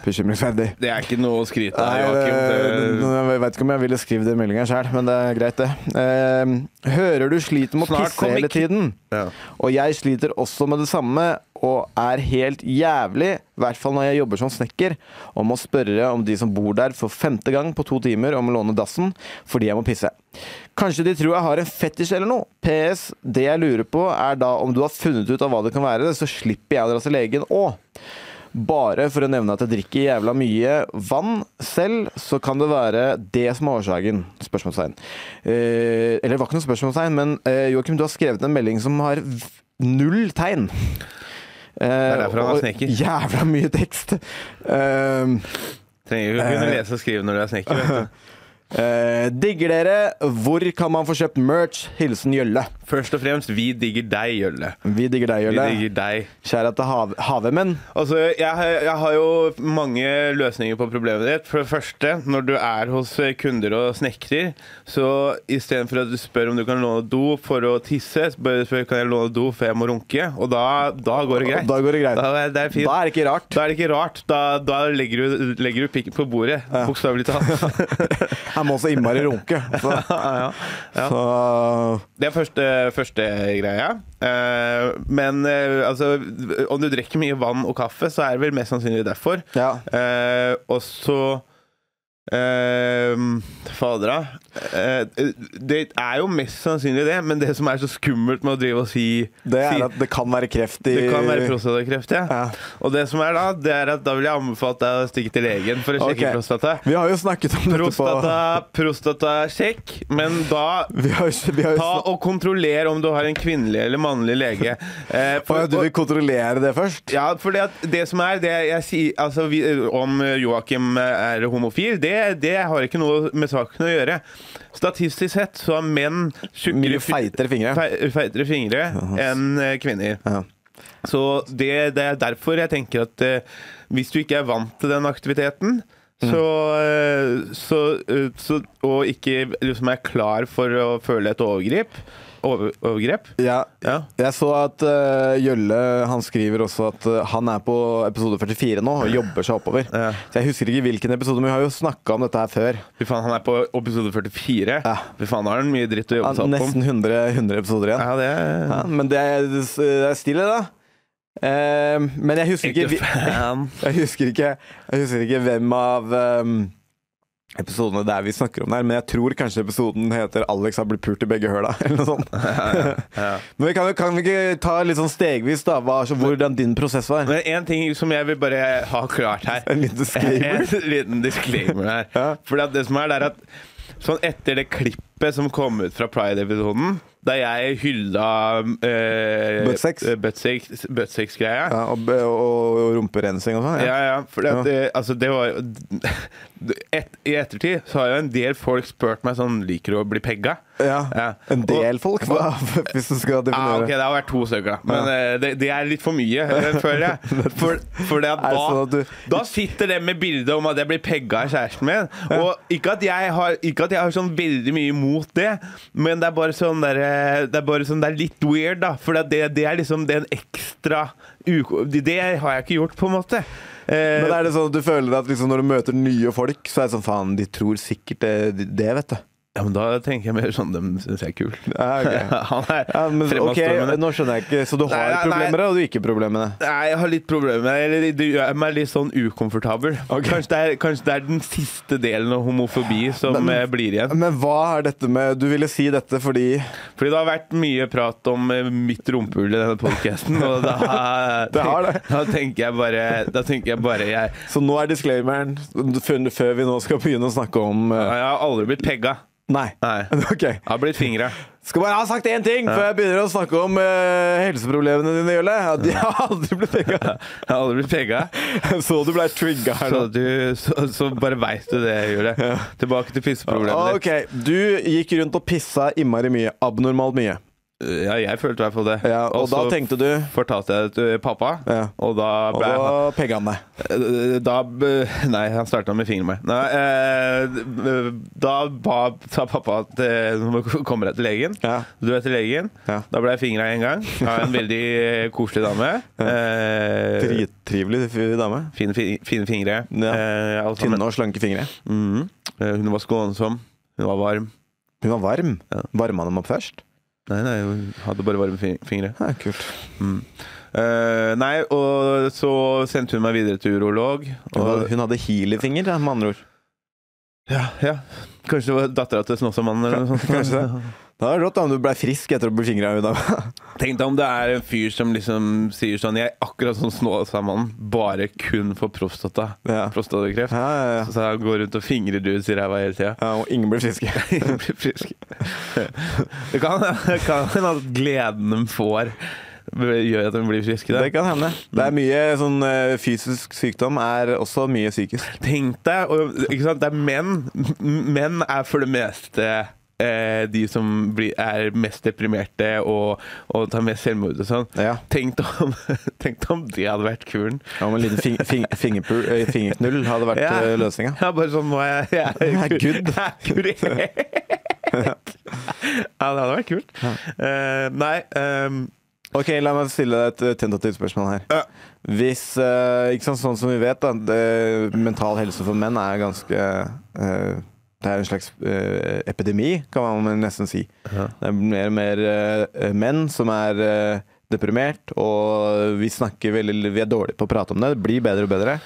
Speaker 2: bekymringsverdig.
Speaker 3: Det er eh, ikke noe å skryte av,
Speaker 2: Nei,
Speaker 3: Joakim.
Speaker 2: det-
Speaker 3: Det-
Speaker 2: jeg vet ikke om jeg ville skrive den meldinga sjøl, men det er greit, det. Eh, hører du sliter med å
Speaker 3: Snart
Speaker 2: pisse
Speaker 3: kommer
Speaker 2: hele
Speaker 3: ki-
Speaker 2: tiden?
Speaker 3: Ja.
Speaker 2: Og jeg sliter også med det samme, og er helt jævlig, i hvert fall når jeg jobber som snekker, om å spørre om de som bor der for femte gang på to timer om å låne dassen fordi jeg må pisse. Kanskje de tror jeg har en fetisj eller noe? PS. Det jeg lurer på, er da om du har funnet ut av hva det kan være, så slipper jeg å dra til legen òg. Bare for å nevne at jeg drikker jævla mye vann selv, så kan det være det som er årsaken. Spørsmålstegn. Eh, eller det var ikke noe spørsmålstegn, men eh, Joakim, du har skrevet en melding som har v- null tegn. Eh,
Speaker 3: er derfor han er
Speaker 2: og
Speaker 3: snekker.
Speaker 2: Jævla mye tekst. Eh,
Speaker 3: Trenger ikke å kunne lese og skrive når du er snekker. vet du.
Speaker 2: eh, digger dere. Hvor kan man få kjøpt merch? Hilsen Jølle.
Speaker 3: Først og fremst, vi digger deg, Jølle.
Speaker 2: Vi digger deg,
Speaker 3: Vi
Speaker 2: Jølle.
Speaker 3: digger deg.
Speaker 2: Kjære til hav Havemenn.
Speaker 3: Altså, jeg, har- jeg har jo mange løsninger på problemet ditt. For det første, når du er hos kunder og snekrer, så istedenfor at du spør om du kan låne do for å tisse, spør spør, kan jeg låne do for jeg må runke. Og da, da går det greit.
Speaker 2: Da går det greit.
Speaker 3: Da er det fint.
Speaker 2: Da er det ikke rart.
Speaker 3: Da er det ikke rart. Da, da legger, du, legger du pikken på bordet, bokstavelig talt.
Speaker 2: Han må også innmari runke. Så,
Speaker 3: ja, ja.
Speaker 2: så
Speaker 3: Det er første, første greia. Eh, men eh, altså, om du drikker mye vann og kaffe, så er det vel mest sannsynlig derfor.
Speaker 2: Ja.
Speaker 3: Eh, og så eh, Fader, da. Eh, det er jo mest sannsynlig det, men det som er så skummelt med å drive og si
Speaker 2: Det
Speaker 3: si,
Speaker 2: er at det kan være kreft i
Speaker 3: det kan være prostatakreft, ja.
Speaker 2: Ja.
Speaker 3: Og det som er da, det er at da vil jeg anbefale deg å stikke til legen for å sjekke
Speaker 2: Ok.
Speaker 3: prostata.
Speaker 2: Vi har jo snakket om dette på
Speaker 3: Prostata, prostatasjekk, men da
Speaker 2: Vi har, jo- vi har jo
Speaker 3: Ta
Speaker 2: snak-
Speaker 3: og kontroller om du har en kvinnelig eller mannlig lege. Eh,
Speaker 2: Å ja, Du vil kontrollere det først?
Speaker 3: ja, for det, at det som er det jeg sier, altså, vi, Om Joakim eh, er homofil, det, det har ikke noe med saken å gjøre. Statistisk sett så har menn
Speaker 2: Mye
Speaker 3: tjukkere fi-
Speaker 2: feitere fingre.
Speaker 3: fe- feitere fingre enn eh, kvinner.
Speaker 2: Ja.
Speaker 3: Så det, det er derfor jeg tenker at eh, hvis du ikke er vant til den aktiviteten,
Speaker 2: Mm.
Speaker 3: så, eh, så, eh, så Og ikke liksom er klar for å føle et overgrip, over, overgrep.
Speaker 2: Ja.
Speaker 3: Ja.
Speaker 2: Jeg så at eh, Jølle han skriver også at eh, han er på episode 44 nå og jobber seg oppover.
Speaker 3: Ja.
Speaker 2: Så Jeg husker ikke hvilken episode, men vi har jo snakka om dette her før.
Speaker 3: Fy faen, han er på episode 44.
Speaker 2: Ja.
Speaker 3: Fy faen, da har han mye dritt å jobbe
Speaker 2: Han,
Speaker 3: seg opp om.
Speaker 2: nesten 100, 100 episoder igjen.
Speaker 3: Ja, det er
Speaker 2: Ja, men det er, det er stille, da. Eh, men jeg husker ikke,
Speaker 3: Ikke fan.
Speaker 2: jeg husker ikke Jeg husker ikke hvem av ehm, episodene der vi snakker om det her, men jeg tror kanskje episoden heter 'Alex har blitt pult i begge høla', eller noe sånt. Men vi kan, jo- kan vi ikke ta litt sånn stegvis, da, hva, så, hvordan din prosess var?
Speaker 3: Men en ting som jeg vil bare ha klart her.
Speaker 2: En liten disclaimer?
Speaker 3: En liten disclaimer her.
Speaker 2: Ja.
Speaker 3: For det som er, det er at sånn etter det klippet som kom ut fra Pride-episoden, da jeg hylla eh,
Speaker 2: Buttsex?
Speaker 3: eh, buttsex- Buttsex-greia
Speaker 2: Ja, og, b- og, og rumperensing og sånn?
Speaker 3: ja,
Speaker 2: Ja.
Speaker 3: ja. For det, at,
Speaker 2: Ja.
Speaker 3: eh, altså, det var jo et, I ettertid så har jo en del folk spurt meg sånn Liker du å bli pegga?
Speaker 2: Ja.
Speaker 3: Ja.
Speaker 2: En del
Speaker 3: Og-
Speaker 2: folk, hva, hvis du skal
Speaker 3: Ja, Ah, ok,
Speaker 2: definere.
Speaker 3: Det har vært to stykker, da. Men eh, det, det er litt for mye, eh, føler jeg. For, for det at
Speaker 2: Er
Speaker 3: da,
Speaker 2: det sånn at du-
Speaker 3: da sitter det med bildet om at jeg blir pegga av kjæresten min. Og ikke at jeg har, ikke at jeg har sånn veldig mye imot det, men det er bare sånn der, eh, det er bare sånn, det er litt weird, da. For det, det er liksom den ekstra uko... Det har jeg ikke gjort, på en måte. Eh,
Speaker 2: Men er det sånn at du føler at liksom, når du møter nye folk, så er det sånn faen, de tror sikkert det, det vet du.
Speaker 3: ja, men da tenker jeg mer sånn Dem syns jeg er kul.
Speaker 2: Ja, ok.
Speaker 3: Han er
Speaker 2: Ja, men, ok,
Speaker 3: fremadstormende.
Speaker 2: nå skjønner jeg ikke. Så du har
Speaker 3: Nei, nei,
Speaker 2: problemer,
Speaker 3: nei.
Speaker 2: og du ikke problemer med det?
Speaker 3: Nei, jeg har litt problemer med det. Eller det gjør meg litt sånn ukomfortabel. Kanskje, det er, kanskje det er den siste delen av homofobi som eh, blir igjen.
Speaker 2: Men hva er dette med Du ville si dette fordi
Speaker 3: Fordi det har vært mye prat om eh, mitt rumpehull i denne podkasten, og da,
Speaker 2: Det har det.
Speaker 3: da tenker jeg bare Da tenker jeg bare Jeg,
Speaker 2: Så nå er disclaimeren før før vi nå skal begynne å snakke om eh,
Speaker 3: jeg har aldri blitt pegga.
Speaker 2: Nei.
Speaker 3: Nei.
Speaker 2: Ok.
Speaker 3: Jeg har blitt fingra.
Speaker 2: Skal bare ha sagt én ting før jeg begynner å snakke om eh, helseproblemene dine, Jølle. At jeg har aldri blitt pegga.
Speaker 3: Jeg har aldri blitt pegga.
Speaker 2: Så du ble trigga her nå.
Speaker 3: Så, du- så, så bare veit du det, Jule. Tilbake til pisseproblemet
Speaker 2: Ok, Du gikk rundt og pissa innmari mye. Abnormalt mye.
Speaker 3: ditt. Ja, jeg følte i hvert fall det.
Speaker 2: Ja, og da
Speaker 3: så
Speaker 2: tenkte du
Speaker 3: fortalte jeg det til pappa,
Speaker 2: Ja.
Speaker 3: og da
Speaker 2: Og
Speaker 3: ble jeg
Speaker 2: da pegga han deg.
Speaker 3: Eh, Da b- Nei, han starta med fingeren meg. Nei, eh, d- da ba, sa pappa at eh, nå må du komme deg til legen.
Speaker 2: Ja.
Speaker 3: Du er til legen.
Speaker 2: Ja.
Speaker 3: Da ble jeg fingra én gang av en veldig eh, koselig dame. Eh,
Speaker 2: Drittrivelig f- dame.
Speaker 3: Fine, fi- fine fingre.
Speaker 2: Ja.
Speaker 3: Eh, alt sammen.
Speaker 2: Tynne og slanke fingre.
Speaker 3: Mhm. Eh, Hun var skånsom. Hun var varm.
Speaker 2: Hun var varm.
Speaker 3: Ja.
Speaker 2: Varma dem opp først?
Speaker 3: Nei, nei, hun hadde bare varme fi- fingre. Mm.
Speaker 2: Ja, kult.
Speaker 3: Eh, nei, og så sendte hun meg videre til urolog.
Speaker 2: Hun
Speaker 3: Og,
Speaker 2: hadde, hun hadde healerfinger, da, med andre ord.
Speaker 3: ja, ja. Kanskje det var dattera til Snåsamannen eller noe sånt.
Speaker 2: Kanskje det. Da er det rått da, om du ble frisk etter å bli fingra i dag.
Speaker 3: Tenk deg om det er en fyr som liksom sier sånn Jeg er akkurat sånn Snåsamannen, bare kun for prostata.
Speaker 2: Ja.
Speaker 3: Prostatakreft.
Speaker 2: Ja, ja, ja.
Speaker 3: Så jeg går rundt og fingrer dus i ræva hele tida.
Speaker 2: ja, og ingen blir friske.
Speaker 3: Blir frisk. Det kan det kan hende at gleden de får, gjør at de blir friske.
Speaker 2: Det
Speaker 3: Det.
Speaker 2: kan hende. Det er mye sånn eh, fysisk sykdom er også mye psykisk.
Speaker 3: Tenk deg og, ikke sant? Det er menn. M- Menn er for det meste eh, de som blir, er mest deprimerte og, og tar mest selvmord og sånn.
Speaker 2: Ja.
Speaker 3: Tenk deg om, tenk deg om det hadde vært kuren.
Speaker 2: Ja, men en liten fing, fing, fingerpul, eh, fingerknull hadde vært
Speaker 3: Ja.
Speaker 2: eh, løsninga.
Speaker 3: Ja, bare sånn nå er jeg, jeg
Speaker 2: Jeg er good.
Speaker 3: Jeg er kurert. ja, det hadde vært kult. Eh, nei ehm,
Speaker 2: Ok, La meg stille deg et eh, tentativt spørsmål her.
Speaker 3: Ja.
Speaker 2: Hvis, eh, ikke sant, Sånn som vi vet, da, det, mental helse for menn er ganske eh, Det er en slags eh, epidemi, kan man nesten si. Det er mer og mer eh, menn som er eh, deprimert, og vi snakker veldig Vi er dårlige på å prate om det. Det blir bedre og bedre,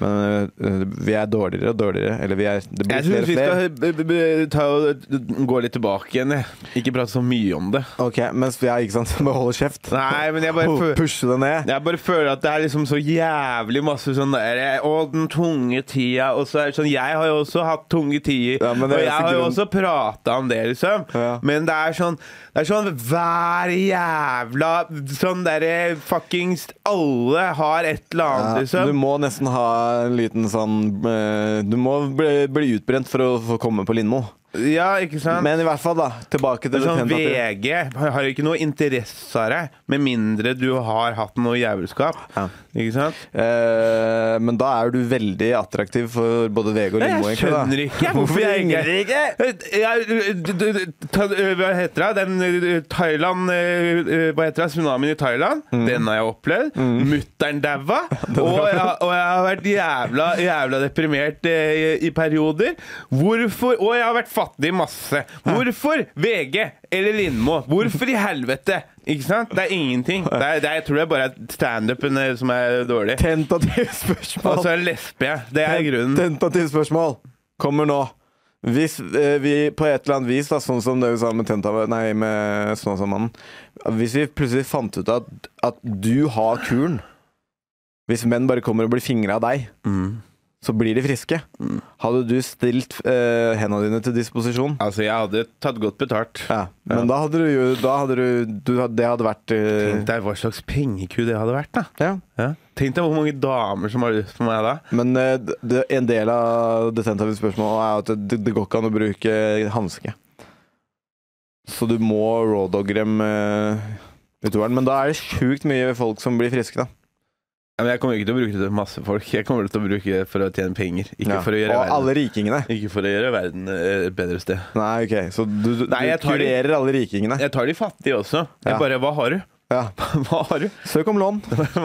Speaker 2: men eh, vi er dårligere og dårligere. Eller vi er, det blir
Speaker 3: Jeg
Speaker 2: flere
Speaker 3: syns vi
Speaker 2: og flere.
Speaker 3: skal b- b- b- ta og eh, gå litt tilbake igjen. jeg. Ikke prate så mye om det.
Speaker 2: Ok, mens vi er, ikke sant, må holde kjeft.
Speaker 3: Nei, men jeg bare,
Speaker 2: Pu-
Speaker 3: fø-
Speaker 2: Pushe det ned.
Speaker 3: jeg bare føler at det er liksom så jævlig masse sånn der Å, den tunge tida. Og så er det sånn Jeg har jo også hatt tunge tider.
Speaker 2: Ja, men
Speaker 3: og
Speaker 2: det er
Speaker 3: jeg
Speaker 2: eneste
Speaker 3: har jo
Speaker 2: grunnen-
Speaker 3: også prata om det, liksom.
Speaker 2: Ja.
Speaker 3: Men det er sånn Det er sånn hver jævla Sånn derre fuckings Alle har et eller
Speaker 2: Ja,
Speaker 3: annet,
Speaker 2: du
Speaker 3: liksom.
Speaker 2: må nesten ha en liten sånn eh, Du må bli, bli utbrent for å få komme på Lindmo.
Speaker 3: Ja, ikke sant?
Speaker 2: Men i hvert fall, da. Tilbake til
Speaker 3: Det er
Speaker 2: det
Speaker 3: sånn,
Speaker 2: tentative.
Speaker 3: VG har har ikke noe interesse av deg, med mindre du har hatt noe jævelskap.
Speaker 2: Ja.
Speaker 3: Ikke sant?
Speaker 2: Eh, men da er du veldig attraktiv for både VG og Lindmo.
Speaker 3: Jeg
Speaker 2: egentlig, da.
Speaker 3: skjønner ikke
Speaker 2: Hvorfor jeg
Speaker 3: jeg
Speaker 2: ringer ikke?
Speaker 3: Jeg- du- du- du- ta- Hva heter det? Den eh, Thailand eh, eh, Hva heter det? Tsunamien i Thailand.
Speaker 2: Mm.
Speaker 3: Den har jeg opplevd. Mutter'n daua. Og, jeg- og jeg har vært jævla, jævla deprimert eh, i, i perioder. Hvorfor? Og jeg har vært fattig masse. Hvorfor VG eller Lindmo? Hvorfor i helvete? Ikke sant? Det er ingenting. Det er, det er, jeg tror det er bare standupen eh, som er dårlig.
Speaker 2: Tentativt
Speaker 3: Og
Speaker 2: spørsmål.
Speaker 3: så er det lesbe. Det er grunnen.
Speaker 2: Tentativt spørsmål kommer nå. Hvis eh, vi på et eller annet vis, da, sånn som det vi sa med, tenta, nei, med Snåsamannen Hvis vi plutselig fant ut at, at du har kuren Hvis menn bare kommer og blir fingra av deg,
Speaker 3: Mm.
Speaker 2: så blir de friske. Hadde du stilt uh, hendene dine til disposisjon?
Speaker 3: Altså, jeg hadde tatt godt betalt.
Speaker 2: Ja. Men da hadde du jo da hadde du, du, hadde- Det hadde vært eh,
Speaker 3: Tenk deg hva slags pengeku det hadde vært, da.
Speaker 2: ja.
Speaker 3: Tenk deg hvor mange damer som har lyst på meg da.
Speaker 2: Men eh, d- det, en del av det tentative spørsmålet er at det, det går ikke an å bruke hanske. Så du må rawdogge dem eh, utover den. Men da er det sjukt mye folk som blir friske, da.
Speaker 3: Ja, men jeg kommer ikke til å bruke det til masse folk. Jeg kommer til å bruke det for å tjene penger. Ikke,
Speaker 2: Ja.
Speaker 3: for, å gjøre
Speaker 2: Og
Speaker 3: verden,
Speaker 2: alle rikingene.
Speaker 3: ikke for å gjøre verden eh, et bedre sted.
Speaker 2: Nei, ok. Så du, du,
Speaker 3: Nei, jeg
Speaker 2: du
Speaker 3: tar de-
Speaker 2: kurerer alle rikingene.
Speaker 3: Jeg tar de fattige også.
Speaker 2: Ja.
Speaker 3: Jeg bare Hva har du?
Speaker 2: Ja.
Speaker 3: Hva har du?
Speaker 2: Søk om lån.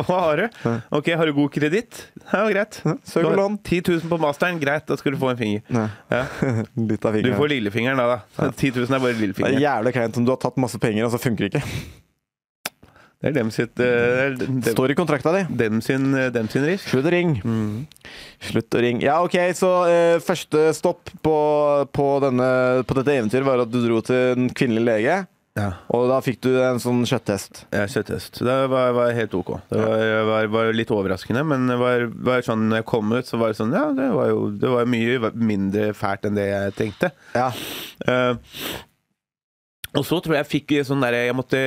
Speaker 3: Hva har du? OK, har du god kreditt? Ja, greit.
Speaker 2: søk om
Speaker 3: Du har
Speaker 2: lån.
Speaker 3: 10 000 på masteren, greit, da skal du få en finger.
Speaker 2: Nei.
Speaker 3: Ja.
Speaker 2: Litt av
Speaker 3: Du får
Speaker 2: fingeren.
Speaker 3: lillefingeren da, da. 10 000 er bare
Speaker 2: Det er
Speaker 3: lillefingeren.
Speaker 2: jævlig kleint om du har tatt masse penger, og så funker det ikke.
Speaker 3: Det er dem sitt eh, det er dem,
Speaker 2: Står i kontrakta di.
Speaker 3: dem sin, eh, dem sin risk.
Speaker 2: Slutt å ringe. Slutt å ringe. Ja, OK, så eh, første stopp på, på, denne, på dette eventyret var at du dro til en kvinnelig lege,
Speaker 3: Ja.
Speaker 2: og da fikk du en sånn kjøtttest.
Speaker 3: Ja, kjøtthest. Det var, var helt ok. Det var, var, var litt overraskende, men det var, var sånn, når jeg kom ut, så var det sånn Ja, det var jo det var mye mindre fælt enn det jeg tenkte.
Speaker 2: Ja.
Speaker 3: Eh, og så tror jeg jeg fikk sånn derre Jeg måtte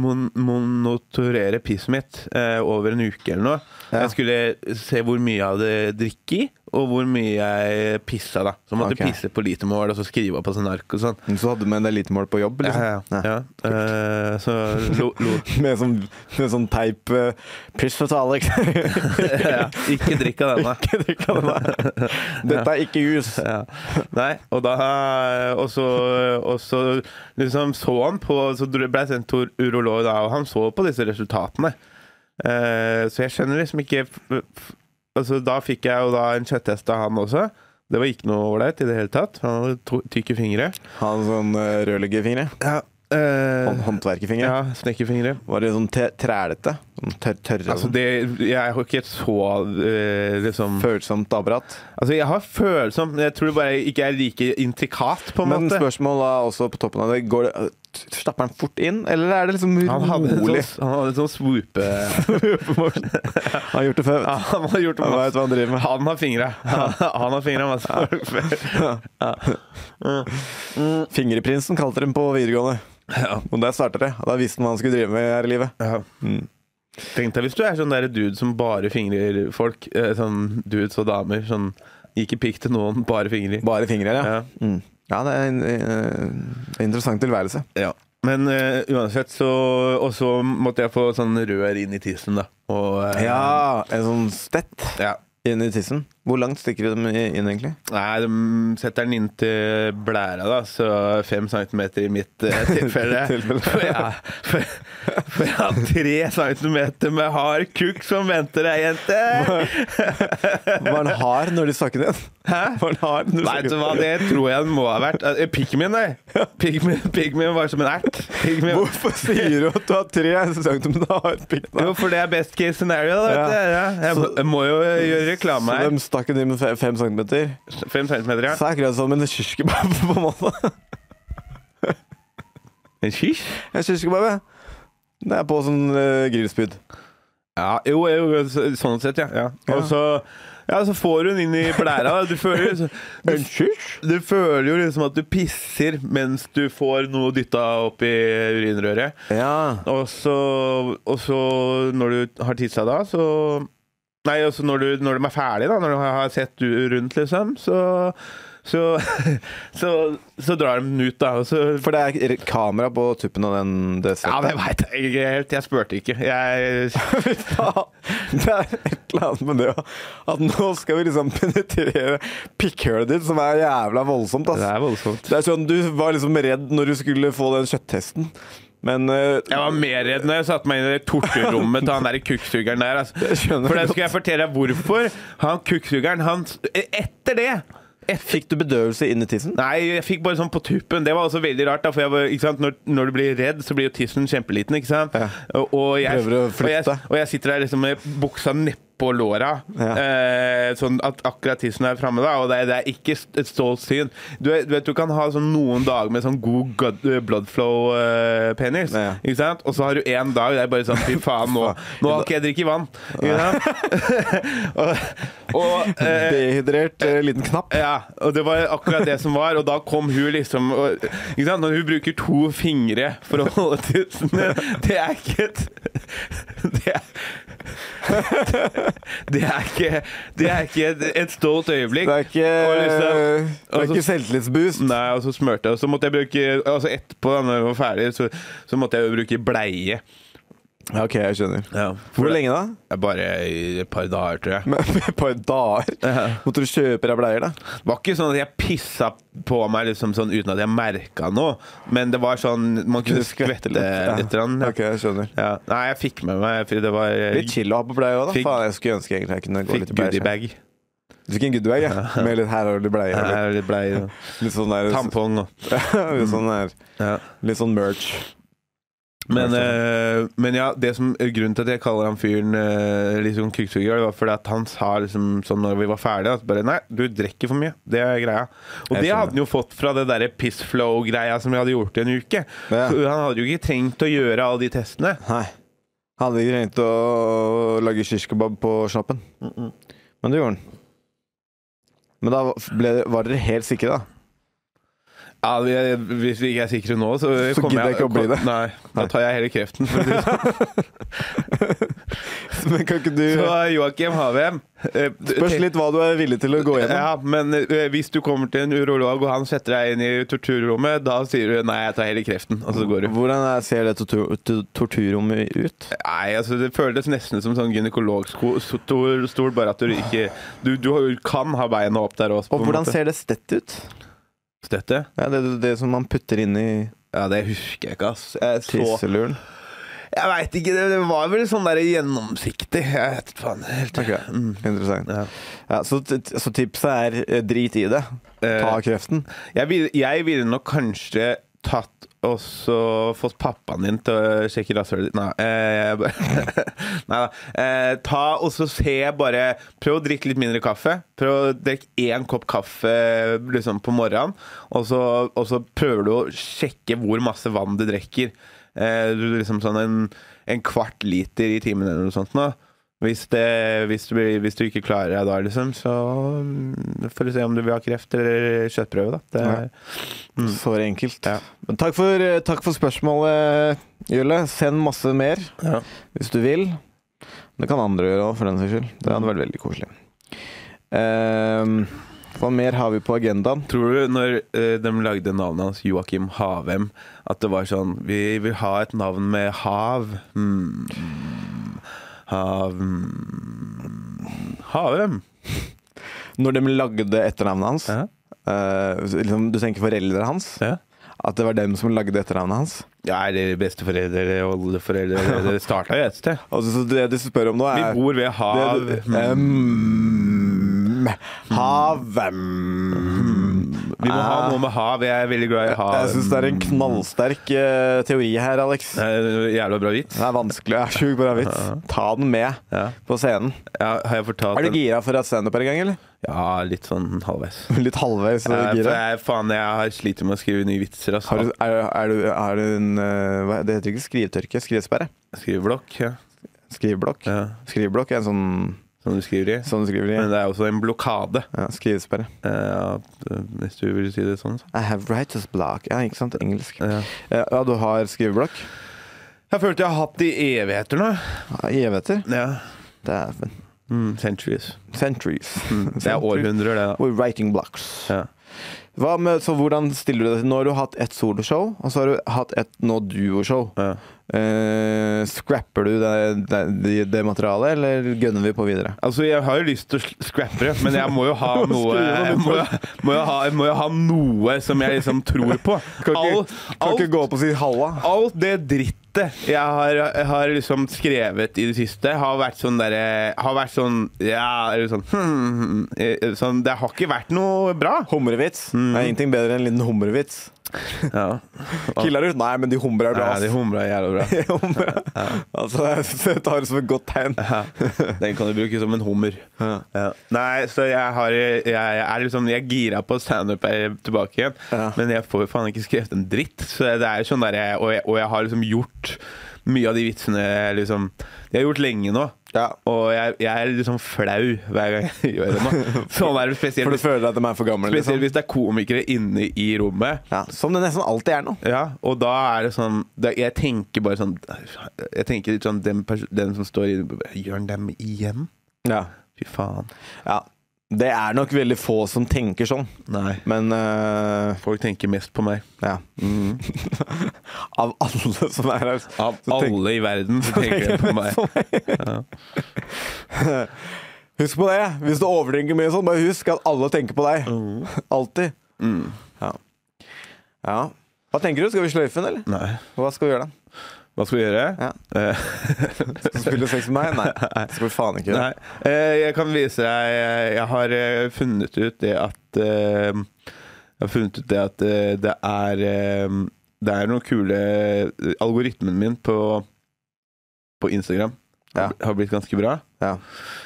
Speaker 3: mon monotorere pisset mitt eh, over en uke eller noe.
Speaker 2: Ja.
Speaker 3: Jeg skulle se hvor mye jeg hadde drikket i, og hvor mye jeg pissa, da. Så jeg måtte
Speaker 2: Ok.
Speaker 3: pisse på litermål, og så skrive opp på sånn ark og sånn.
Speaker 2: Men Så hadde du med en elitemål på jobb, liksom.
Speaker 3: Ja, ja, ja. Eh, så lo, lo,
Speaker 2: Med sånn, med sånn teip eh, 'Piss for Alex'.
Speaker 3: ja. Ikke drikk av denne.
Speaker 2: Ikke drikk av det der. Dette er ikke jus.
Speaker 3: Ja. Nei, og da Og så, og så liksom så han på Så ble jeg sendt til urolog, da, og han så på disse resultatene. Eh, så jeg skjønner liksom ikke f- f- Altså Da fikk jeg jo da en kjøtttest av han også. Det var ikke noe ålreit i det hele tatt. Han hadde to- tykke fingre.
Speaker 2: Ha en sånn eh, rørleggerfingre.
Speaker 3: Ja,
Speaker 2: Hånd-
Speaker 3: eh,
Speaker 2: Håndverkerfingre.
Speaker 3: ja snekkerfingre.
Speaker 2: Var det sånn te- trælete? Sånn tør tørre?
Speaker 3: Altså det Jeg har ikke et så eh, liksom
Speaker 2: Følsomt apparat?
Speaker 3: Altså jeg har følsom men Jeg tror det bare ikke er like intrikat, på en
Speaker 2: Men
Speaker 3: måte.
Speaker 2: spørsmålet er også på toppen av det Går det Stapper han fort inn, eller er det liksom
Speaker 3: Han hadde en
Speaker 2: rolig?
Speaker 3: sånn, han hadde en sånn swoope...
Speaker 2: Han har gjort det før. vet du.
Speaker 3: Han har gjort det
Speaker 2: Han
Speaker 3: masse.
Speaker 2: vet hva han driver med.
Speaker 3: Han har fingre. Han altså. har fingre masse.
Speaker 2: Fingerprinsen kalte de på videregående. Og der startet det. Da visste han hva han skulle drive med her i livet.
Speaker 3: Ja. Mm. Tenk deg hvis du er sånn der dude som bare fingrer folk. eh, Sånn dudes og damer. Sånn ikke pikk til noen, bare fingre.
Speaker 2: Bare fingre, ja.
Speaker 3: Ja.
Speaker 2: Mm. Ja, det er en eh, interessant tilværelse.
Speaker 3: Ja. Men eh, uansett så Og så måtte jeg få sånn rør inn i tissen, da. Og, eh,
Speaker 2: Ja, en sånn stett
Speaker 3: ja.
Speaker 2: inn i tissen. Hvor langt stikker de inn, egentlig?
Speaker 3: Nei, de setter den inn til blæra, da, så fem centimeter i mitt eh, tilfelle.
Speaker 2: Tilfelle.
Speaker 3: for, jeg, for, for jeg har tre centimeter med hard kukk som venter deg,
Speaker 2: Var
Speaker 3: jente!
Speaker 2: den hard når de stakk den inn?
Speaker 3: Hæ?
Speaker 2: Var den hard når de
Speaker 3: Vet
Speaker 2: stakk
Speaker 3: du
Speaker 2: den
Speaker 3: hva,
Speaker 2: inn?
Speaker 3: det tror jeg den må ha vært. Eh, Pikken min, nei. Pikken min, pikken min var som en ert. Pikken min-
Speaker 2: Hvorfor sier du at du har tre centimeter hard pikk? da?
Speaker 3: Jo, for det er best case scenario. Da, vet
Speaker 2: Ja.
Speaker 3: du. Ja. Jeg, må-
Speaker 2: Så-
Speaker 3: jeg må jo gjøre reklame
Speaker 2: Så
Speaker 3: her.
Speaker 2: de stakk den inn med fe- fem centimeter.
Speaker 3: Fem centimeter,
Speaker 2: Så
Speaker 3: ja.
Speaker 2: er akkurat som en kirskebab, på en måte.
Speaker 3: En kysj?
Speaker 2: En kirskebab, ja. Det er på sånn uh, grillspyd.
Speaker 3: Ja, jo, jo så- sånn sett, ja. ja. Og så, ja, så får hun inn i blæra. da. Du føler, jo- du, du føler jo liksom at du pisser mens du får noe dytta opp i urinrøret.
Speaker 2: Ja.
Speaker 3: Og så, og så når du har tissa da, så Nei, og så når, du- når de er ferdige, da, når du har har sett du rundt, liksom, så Så, så, så drar de den ut, da. Og så
Speaker 2: For det er r- kamera på tuppen av den det
Speaker 3: ja,
Speaker 2: settet.
Speaker 3: det veit jeg ikke helt. Jeg spurte ikke. Jeg
Speaker 2: Fy faen! Det er et eller annet med det òg. At nå skal vi liksom penetrere pikkhølet ditt, som er jævla voldsomt.
Speaker 3: Det
Speaker 2: Ass.
Speaker 3: er voldsomt.
Speaker 2: Det er sånn, Du var liksom redd når du skulle få den kjøtttesten, men eh,
Speaker 3: Jeg var mer redd når jeg satte meg inn i det torturrommet til han der kukksugeren der. Altså.
Speaker 2: Jeg skjønner
Speaker 3: For det
Speaker 2: godt.
Speaker 3: skal jeg fortelle deg hvorfor. Han kukksugeren, han Etter det etter,
Speaker 2: fikk du bedøvelse inn i tissen?
Speaker 3: Nei, jeg fikk bare sånn på tuppen. Det var også veldig rart. Da, for jeg var, ikke sant? Når, når du blir redd, så blir jo tissen kjempeliten, ikke sant?
Speaker 2: Ja.
Speaker 3: Og, og, jeg,
Speaker 2: Prøver å
Speaker 3: og, jeg,
Speaker 2: flytte.
Speaker 3: og jeg sitter der liksom med buksa nedpå låra,
Speaker 2: Ja.
Speaker 3: eh, sånn at akkurat tissen er framme. da, Og det, er- det er ikke st- et stolt syn. Du, vet- du vet, du kan ha sånn noen dager med sånn god god, blood flow-penis,
Speaker 2: Ja.
Speaker 3: ikke sant? Og så har du én dag der bare sånn Fy faen, nå, nå har ikke jeg drikket vann. Ikke sant? og, og eh,
Speaker 2: Dehydrert eh, liten knapp?
Speaker 3: ja, og det var akkurat det som var, og da kom hun liksom og, ikke sant? Når hun bruker to fingre for å holde tissen ned, det er ikke et Det er, det er ikke, det er ikke et, et stolt øyeblikk.
Speaker 2: Det er ikke,
Speaker 3: Og liksom-
Speaker 2: det er ikke selvtillitsboost.
Speaker 3: Nei, og så smurte jeg, og så måtte jeg bruke Altså etterpå, da når jeg var ferdig, så, så måtte jeg jo bruke bleie.
Speaker 2: Ja, OK, jeg skjønner.
Speaker 3: For
Speaker 2: Hvor
Speaker 3: det-
Speaker 2: lenge da?
Speaker 3: Bare i et par dager, tror jeg.
Speaker 2: Men Et par dager? Måtte du kjøpe deg bleier, da?
Speaker 3: Det var ikke sånn at jeg pissa på meg liksom sånn uten at jeg merka noe, men det var sånn Man kunne skvette litt. grann, ja.
Speaker 2: Ok, jeg skjønner.
Speaker 3: Ja. Nei, jeg fikk med meg for Det var
Speaker 2: Litt chill å ha på bleie òg, da.
Speaker 3: Fikk-
Speaker 2: Faen, jeg skulle ønske egentlig jeg kunne gå
Speaker 3: Fikk
Speaker 2: litt i bleier.
Speaker 3: goodiebag.
Speaker 2: Du fikk en goodiebag, ja. Med litt her og litt bleie. og
Speaker 3: Nei, Litt bleie. og
Speaker 2: Litt, litt sånn der
Speaker 3: Tampong og
Speaker 2: litt, sånn der,
Speaker 3: ja.
Speaker 2: litt sånn merch.
Speaker 3: Men, eh, men ja, det som, grunnen til at jeg kaller han fyren eh, litt sånn kukksuger, var fordi at han sa liksom sånn når vi var ferdige, at bare Nei, du drikker for mye. Det er greia. Og
Speaker 2: Jeg
Speaker 3: det
Speaker 2: skjønner.
Speaker 3: hadde han jo fått fra det derre pissflow-greia som vi hadde gjort i en uke.
Speaker 2: Ja.
Speaker 3: Så han hadde jo ikke trengt å gjøre alle de testene.
Speaker 2: Nei. Hadde ikke trengt å lage shish kebab på snappen. Men det gjorde han. Men da ble, var dere helt sikre, da?
Speaker 3: Ja, vi er, Hvis vi ikke er sikre nå, så,
Speaker 2: Så
Speaker 3: kommer
Speaker 2: gidder jeg ikke å bli det.
Speaker 3: Nei, Da tar jeg hele kreften. For å si det sånn.
Speaker 2: Men kan ikke du
Speaker 3: så Joakim Havem eh,
Speaker 2: Spørs
Speaker 3: tenk-
Speaker 2: litt hva du er villig til å gå gjennom.
Speaker 3: Ja, men eh, hvis du kommer til en urolog og han setter deg inn i torturrommet, da sier du 'nei, jeg tar hele kreften', og så går du.
Speaker 2: Hvordan er, ser det tortur, to- torturrommet ut?
Speaker 3: Nei, altså Det føles nesten som sånn gynekologstol, bare at du ikke Du, du har- kan ha beina opp der også.
Speaker 2: Og hvordan ser det stett ut?
Speaker 3: Dette?
Speaker 2: Ja, det, det som man putter inn i
Speaker 3: Ja, det husker jeg ikke, ass. Jeg så
Speaker 2: tisseluren.
Speaker 3: Jeg veit ikke, det, det var vel sånn der gjennomsiktig. Jeg vet faen helt. Mm.
Speaker 2: Ok, Interessant.
Speaker 3: Ja.
Speaker 2: Ja, så, t- så tipset er eh, drit i det. Ta
Speaker 3: Eh,
Speaker 2: kreften.
Speaker 3: Jeg ville, jeg ville nok kanskje tatt og så fått pappaen din til å sjekke rasshølet ditt Nei. Eh, jeg bare- Neida. Eh, ta og så se bare Prøv å drikke litt mindre kaffe. Prøv å drikke én kopp kaffe liksom, på morgenen, og så, og så prøver du å sjekke hvor masse vann du drikker. Eh, du, liksom sånn en, en kvart liter i timen eller noe sånt. Nå. Hvis, det, hvis, du, blir- hvis du ikke klarer deg da, liksom, så mm, får du se om du vil ha kreft eller kjøttprøve. Da. Det er,
Speaker 2: Ja. Så enkelt.
Speaker 3: mm. Ja.
Speaker 2: Men takk for, eh, takk for spørsmålet, Jule. Send masse mer
Speaker 3: Ja.
Speaker 2: hvis du vil. Det kan andre gjøre òg, for den saks skyld. Det hadde vært veldig koselig. Ehm, hva mer har vi på agendaen?
Speaker 3: Tror du når eh, de lagde navnet hans Joakim Havem, at det var sånn Vi vil ha et navn med hav. Hmm. Hav hmm. Havem.
Speaker 2: Når de lagde etternavnet hans
Speaker 3: Ja.
Speaker 2: eh, liksom, Du tenker foreldrene hans?
Speaker 3: Ja.
Speaker 2: At det var dem som lagde etternavnet hans?
Speaker 3: Ja, eller besteforeldre eller oldeforeldre. eller- Det starta jo et sted.
Speaker 2: Altså, så det du spør om nå,
Speaker 3: Vi
Speaker 2: er
Speaker 3: bor ved hav.
Speaker 2: Det- det-
Speaker 3: Hmm.
Speaker 2: Mm. Havem.
Speaker 3: Vi må ha noe med hav. Jeg er veldig glad i hav.
Speaker 2: Jeg syns det er en knallsterk eh, teori her, Alex.
Speaker 3: Det er en Jævla bra vits.
Speaker 2: Det er vanskelig. Jeg er sjukt bra vits. Ta den med
Speaker 3: Ja.
Speaker 2: på scenen.
Speaker 3: Ja, har jeg fortalt
Speaker 2: Er du
Speaker 3: den?
Speaker 2: gira for et standup her en gang, eller?
Speaker 3: Ja, litt sånn halvveis.
Speaker 2: Litt halvveis
Speaker 3: Jeg, for
Speaker 2: gira?
Speaker 3: jeg, faen, jeg har sliter med å skrive nye vitser. Altså.
Speaker 2: Har du, er, er du, er du en eh, hva, Det heter ikke skrivetørke, skrivesperre.
Speaker 3: Skriveblokk. Ja.
Speaker 2: Skriveblokk.
Speaker 3: Ja.
Speaker 2: Skriveblokk er en sånn,
Speaker 3: Som du skriver i.
Speaker 2: sånn du skriver i.
Speaker 3: Men det er også en blokade,
Speaker 2: Ja, skrivesperre.
Speaker 3: eh, at- hvis du vil si det sånn. Så.
Speaker 2: I have writer's block. Ja, ikke sant? Engelsk.
Speaker 3: Ja.
Speaker 2: Ja, ja du har skriveblokk?
Speaker 3: Jeg følte jeg har hatt det i evigheter nå.
Speaker 2: Ja, I evigheter?
Speaker 3: Ja.
Speaker 2: Dæven.
Speaker 3: Mm, centuries. Mm,
Speaker 2: Centuries.
Speaker 3: Det er århundrer, det. da.
Speaker 2: We're writing blocks.
Speaker 3: Ja.
Speaker 2: Hva med, så hvordan stiller du deg til Nå har du hatt ett soloshow, og så har du hatt et nå duoshow.
Speaker 3: Ja.
Speaker 2: Eh, scrapper du det, det, det- det materialet, eller gønner vi på videre?
Speaker 3: Altså, jeg har jo lyst til å sl- scrappe det, men jeg må jo ha noe jeg må, jo- må, jo ha, må jo ha noe som jeg liksom tror på. Alt, alt,
Speaker 2: gå opp og si halla.
Speaker 3: alt det drittet jeg har, jeg har liksom skrevet i det siste, har vært sånn derre Har vært sånn Ja, eller sånn, hmm, hmm, eh, sånn Det har ikke vært noe bra.
Speaker 2: Humrevits. Det er ingenting bedre enn en liten humrevits.
Speaker 3: Ja,
Speaker 2: Killer du? Nei, men de humrer er bra.
Speaker 3: de
Speaker 2: ass.
Speaker 3: humra jævla bra.
Speaker 2: De humrer. Altså, jeg tar det som et godt tegn.
Speaker 3: Den kan du bruke som en hummer.
Speaker 2: Ja.
Speaker 3: Ja. Nei, så jeg, har, jeg, jeg er liksom Jeg er gira på standup er tilbake igjen,
Speaker 2: Ja.
Speaker 3: men jeg får jo faen ikke skrevet en dritt. Så det er jo sånn der jeg, og, jeg, og jeg har liksom gjort mye av de vitsene jeg liksom Jeg har gjort lenge nå.
Speaker 2: Ja.
Speaker 3: Og jeg, jeg er liksom flau hver gang jeg gjør det nå. Sånn er det spesielt,
Speaker 2: For du føler at de er for gamle?
Speaker 3: spesielt
Speaker 2: Liksom.
Speaker 3: hvis det er komikere inne i rommet.
Speaker 2: Ja, som det nesten alltid er nå.
Speaker 3: Ja, og da er det sånn da, Jeg tenker bare sånn Jeg tenker litt sånn Den, pers- den som står i Gjør han dem igjen?
Speaker 2: Ja.
Speaker 3: Fy faen.
Speaker 2: ja. Det er nok veldig få som tenker sånn,
Speaker 3: Nei.
Speaker 2: men eh,
Speaker 3: Folk tenker mest på meg. Mm.
Speaker 2: ja. Av alle som er her.
Speaker 3: Av
Speaker 2: Så tenk-
Speaker 3: alle i verden så tenker de på meg.
Speaker 2: Husk på det! Hvis du overdrinker mye sånn, bare husk at alle tenker på deg.
Speaker 3: Mm.
Speaker 2: Alltid. Ja. ja. Hva tenker du? Skal vi sløyfe den, eller?
Speaker 3: Nei.
Speaker 2: Hva skal vi gjøre, da?
Speaker 3: Hva skal vi gjøre?
Speaker 2: Ja.
Speaker 3: Eh,
Speaker 2: Skal du spille sex med meg? Nei. Skal vi faen ikke gjøre
Speaker 3: nei. Eh, jeg kan vise deg eh, Jeg har eh, funnet ut det at eh, Jeg har funnet ut det at eh, det er eh, Det er noen kule eh, Algoritmen min på På Instagram
Speaker 2: Ja.
Speaker 3: har blitt ganske bra.
Speaker 2: Ja.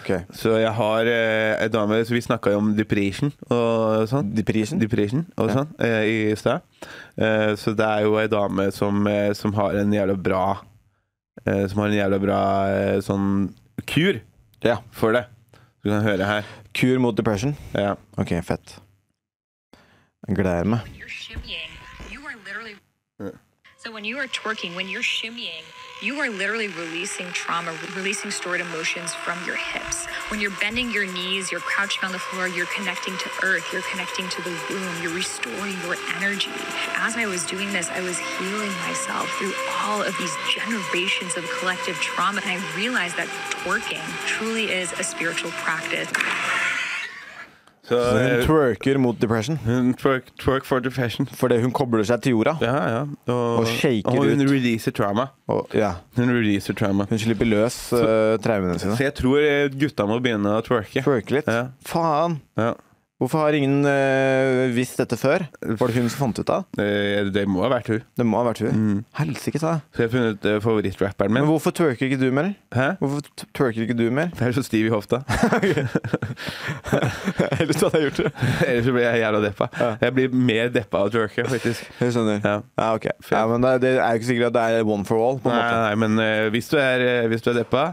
Speaker 2: Ok.
Speaker 3: Så jeg har eh, ei dame så Vi snakka jo om depression og sånn.
Speaker 2: Depression?
Speaker 3: Depression og
Speaker 2: Ja.
Speaker 3: sånn eh, i stad. Eh, så det er jo ei dame som, eh, som har en jævla bra eh, Som har en jævla bra eh, sånn kur
Speaker 2: Ja.
Speaker 3: for det. Du kan høre her.
Speaker 2: Kur mot depression?
Speaker 3: Ja.
Speaker 2: Ok, fett. Jeg gleder meg.
Speaker 6: You're shimmying. You are literally.
Speaker 3: Yeah.
Speaker 6: So when you are twerking, when you're shimmying, you are literally releasing trauma, re- releasing stored emotions from your hips. When you're bending your knees, you're crouching on the floor, you're connecting to earth, you're connecting to the womb, you're restoring your energy. As I was doing this, I was healing myself through all of these generations of collective trauma. And I realized that twerking truly is a spiritual practice.
Speaker 3: Så
Speaker 2: Hun
Speaker 3: eh,
Speaker 2: twerker mot depression
Speaker 3: hun twerk, twerk for the fashion.
Speaker 2: fordi hun kobler seg til jorda.
Speaker 3: Ja, ja.
Speaker 2: Og shaker
Speaker 3: og hun
Speaker 2: ut.
Speaker 3: releaser trauma.
Speaker 2: Og, ja.
Speaker 3: Hun releaser trauma.
Speaker 2: Hun slipper løs eh, traumene
Speaker 3: Så
Speaker 2: sine.
Speaker 3: jeg tror eh, gutta må begynne å twerke.
Speaker 2: Twerke litt.
Speaker 3: Ja.
Speaker 2: Faen!
Speaker 3: Ja.
Speaker 2: Hvorfor har ingen eh, visst dette før? Var det hun som fant ut av det?
Speaker 3: Eh, Det må ha vært hun.
Speaker 2: Det må ha vært hun.
Speaker 3: Mm.
Speaker 2: Helsike ta.
Speaker 3: Så jeg har funnet eh, favorittrapperen
Speaker 2: Men
Speaker 3: min.
Speaker 2: hvorfor twerker ikke du mer?
Speaker 3: Hæ?
Speaker 2: Hvorfor t- twerker ikke du mer?
Speaker 3: Jeg er så stiv i hofta.
Speaker 2: Ellers hadde jeg gjort det.
Speaker 3: Ellers så blir jeg jævla deppa. Jeg blir mer deppa av å twerke, faktisk.
Speaker 2: Jeg skjønner. Ja,
Speaker 3: Ja.
Speaker 2: ok. Ja, men det er, det er jo ikke sikkert at det er one for all. på en
Speaker 3: Nei,
Speaker 2: måte.
Speaker 3: nei, men eh, hvis, du er, eh, hvis du er deppa,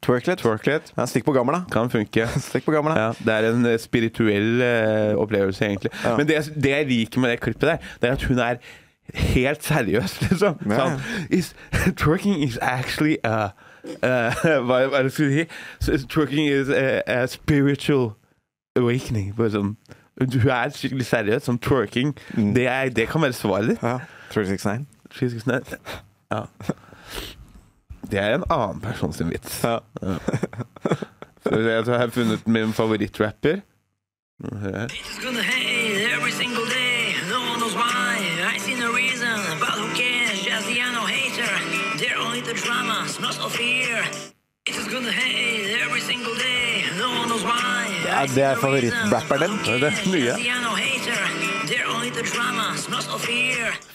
Speaker 2: Twerk litt.
Speaker 3: twerk litt.
Speaker 2: Ja, stikk på gammel, da.
Speaker 3: Kan funke.
Speaker 2: Stikk på gammel, da.
Speaker 3: Ja, det er en eh, spirituell eh, opplevelse, egentlig.
Speaker 2: Ja.
Speaker 3: Men det, jeg- det jeg liker med det klippet der, det er at hun er helt seriøs, liksom.
Speaker 2: Ja, ja.
Speaker 3: Sånn, is, twerking is actually a, a, Hva hva er det du skulle si? So, is- Twerking is a, a spiritual awakening. Bare sånn. Hun er skikkelig seriøs. Sånn twerking, det, er, det kan være svaret ditt.
Speaker 2: Mm. Ja. 369.
Speaker 3: Fysisk snø. Ja. Det er en annen person sin vits.
Speaker 2: Ja.
Speaker 3: Ja. Så jeg tror jeg har funnet min favorittrapper. Hør her.
Speaker 7: It's gonna hate every single day. No one knows why. I see no reason, but who cares? Just the unknown hater. They're only the drama, smells of fear. It's gonna hate every single day. No one knows why.
Speaker 2: Ja, det er favorittrapperen din.
Speaker 3: Det er det nye.
Speaker 7: nye.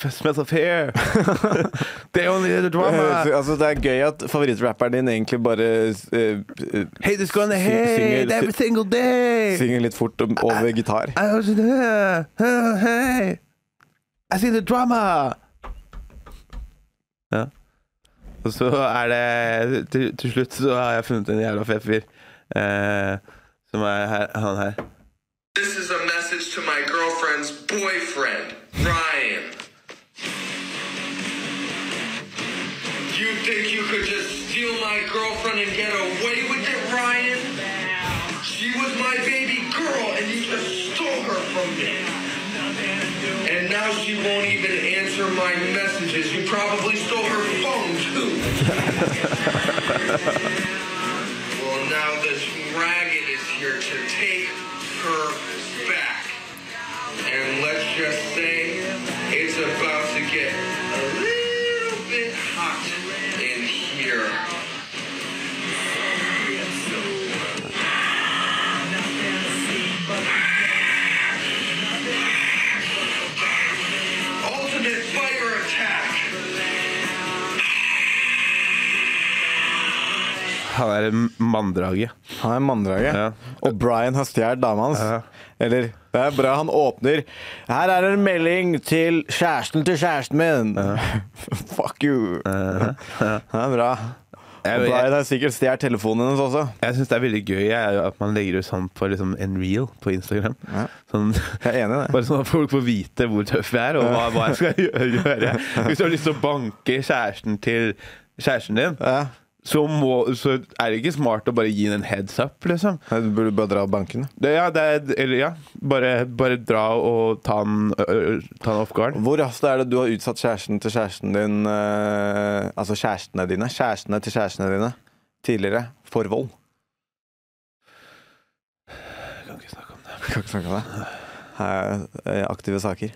Speaker 3: Smells of fear. They only did the
Speaker 2: Eh,
Speaker 3: drama.
Speaker 2: Altså, det er gøy at favorittrapperen din egentlig bare eh, eh,
Speaker 3: Hate is gonna
Speaker 2: Sy- synger-
Speaker 3: hate every
Speaker 2: sy-
Speaker 3: single day.
Speaker 2: synger litt fort om- over gitar.
Speaker 3: I was there. Uh, hey. I see the drama. Ja. Og så er det til, til slutt så har jeg funnet en jævla fet fyr. Eh, som er her, han her.
Speaker 8: This is a message to my girlfriend's boyfriend, Ryan. You think you could just steal my girlfriend and get away with it, Ryan? She was my baby girl and you just stole her from me. and now she won't even answer my messages. You probably stole her phone, too. well, now this ragged is here to take her back. And let's just say it's about to get a little bit hot in here. Ultimate fire attack.
Speaker 3: Han er en manndrage.
Speaker 2: Han er manndraget.
Speaker 3: Ja.
Speaker 2: Og Brian har stjålet dama hans. Eller Det er bra han åpner. Her er en melding til kjæresten til kjæresten min. Fuck you. Det er bra.
Speaker 3: Jeg-
Speaker 2: Og Brian har sikkert stjålet telefonen hennes også.
Speaker 3: Jeg syns det er veldig gøy jeg, at man legger ut sånn på liksom, en reel på Instagram. Sånn,
Speaker 2: Jeg er enig i det.
Speaker 3: bare sånn at folk får vite hvor tøff jeg er, og hva, hva jeg skal gjø- gjøre. Hvis du har lyst til å banke kjæresten til kjæresten din,
Speaker 2: Ja.
Speaker 3: så, må, så er det ikke smart å bare gi den en heads up, liksom.
Speaker 2: Du burde bare dra banken.
Speaker 3: Det, ja, det er, eller ja, bare, bare dra og ta den, ø- ø- ta den off guard.
Speaker 2: Hvor ofte er det du har utsatt kjæresten til kjæresten din eh, Altså kjærestene dine Kjærestene til kjærestene dine tidligere for vold?
Speaker 3: Jeg kan ikke snakke om det.
Speaker 2: Kan ikke snakke om det. Her er, eh, Aktive saker.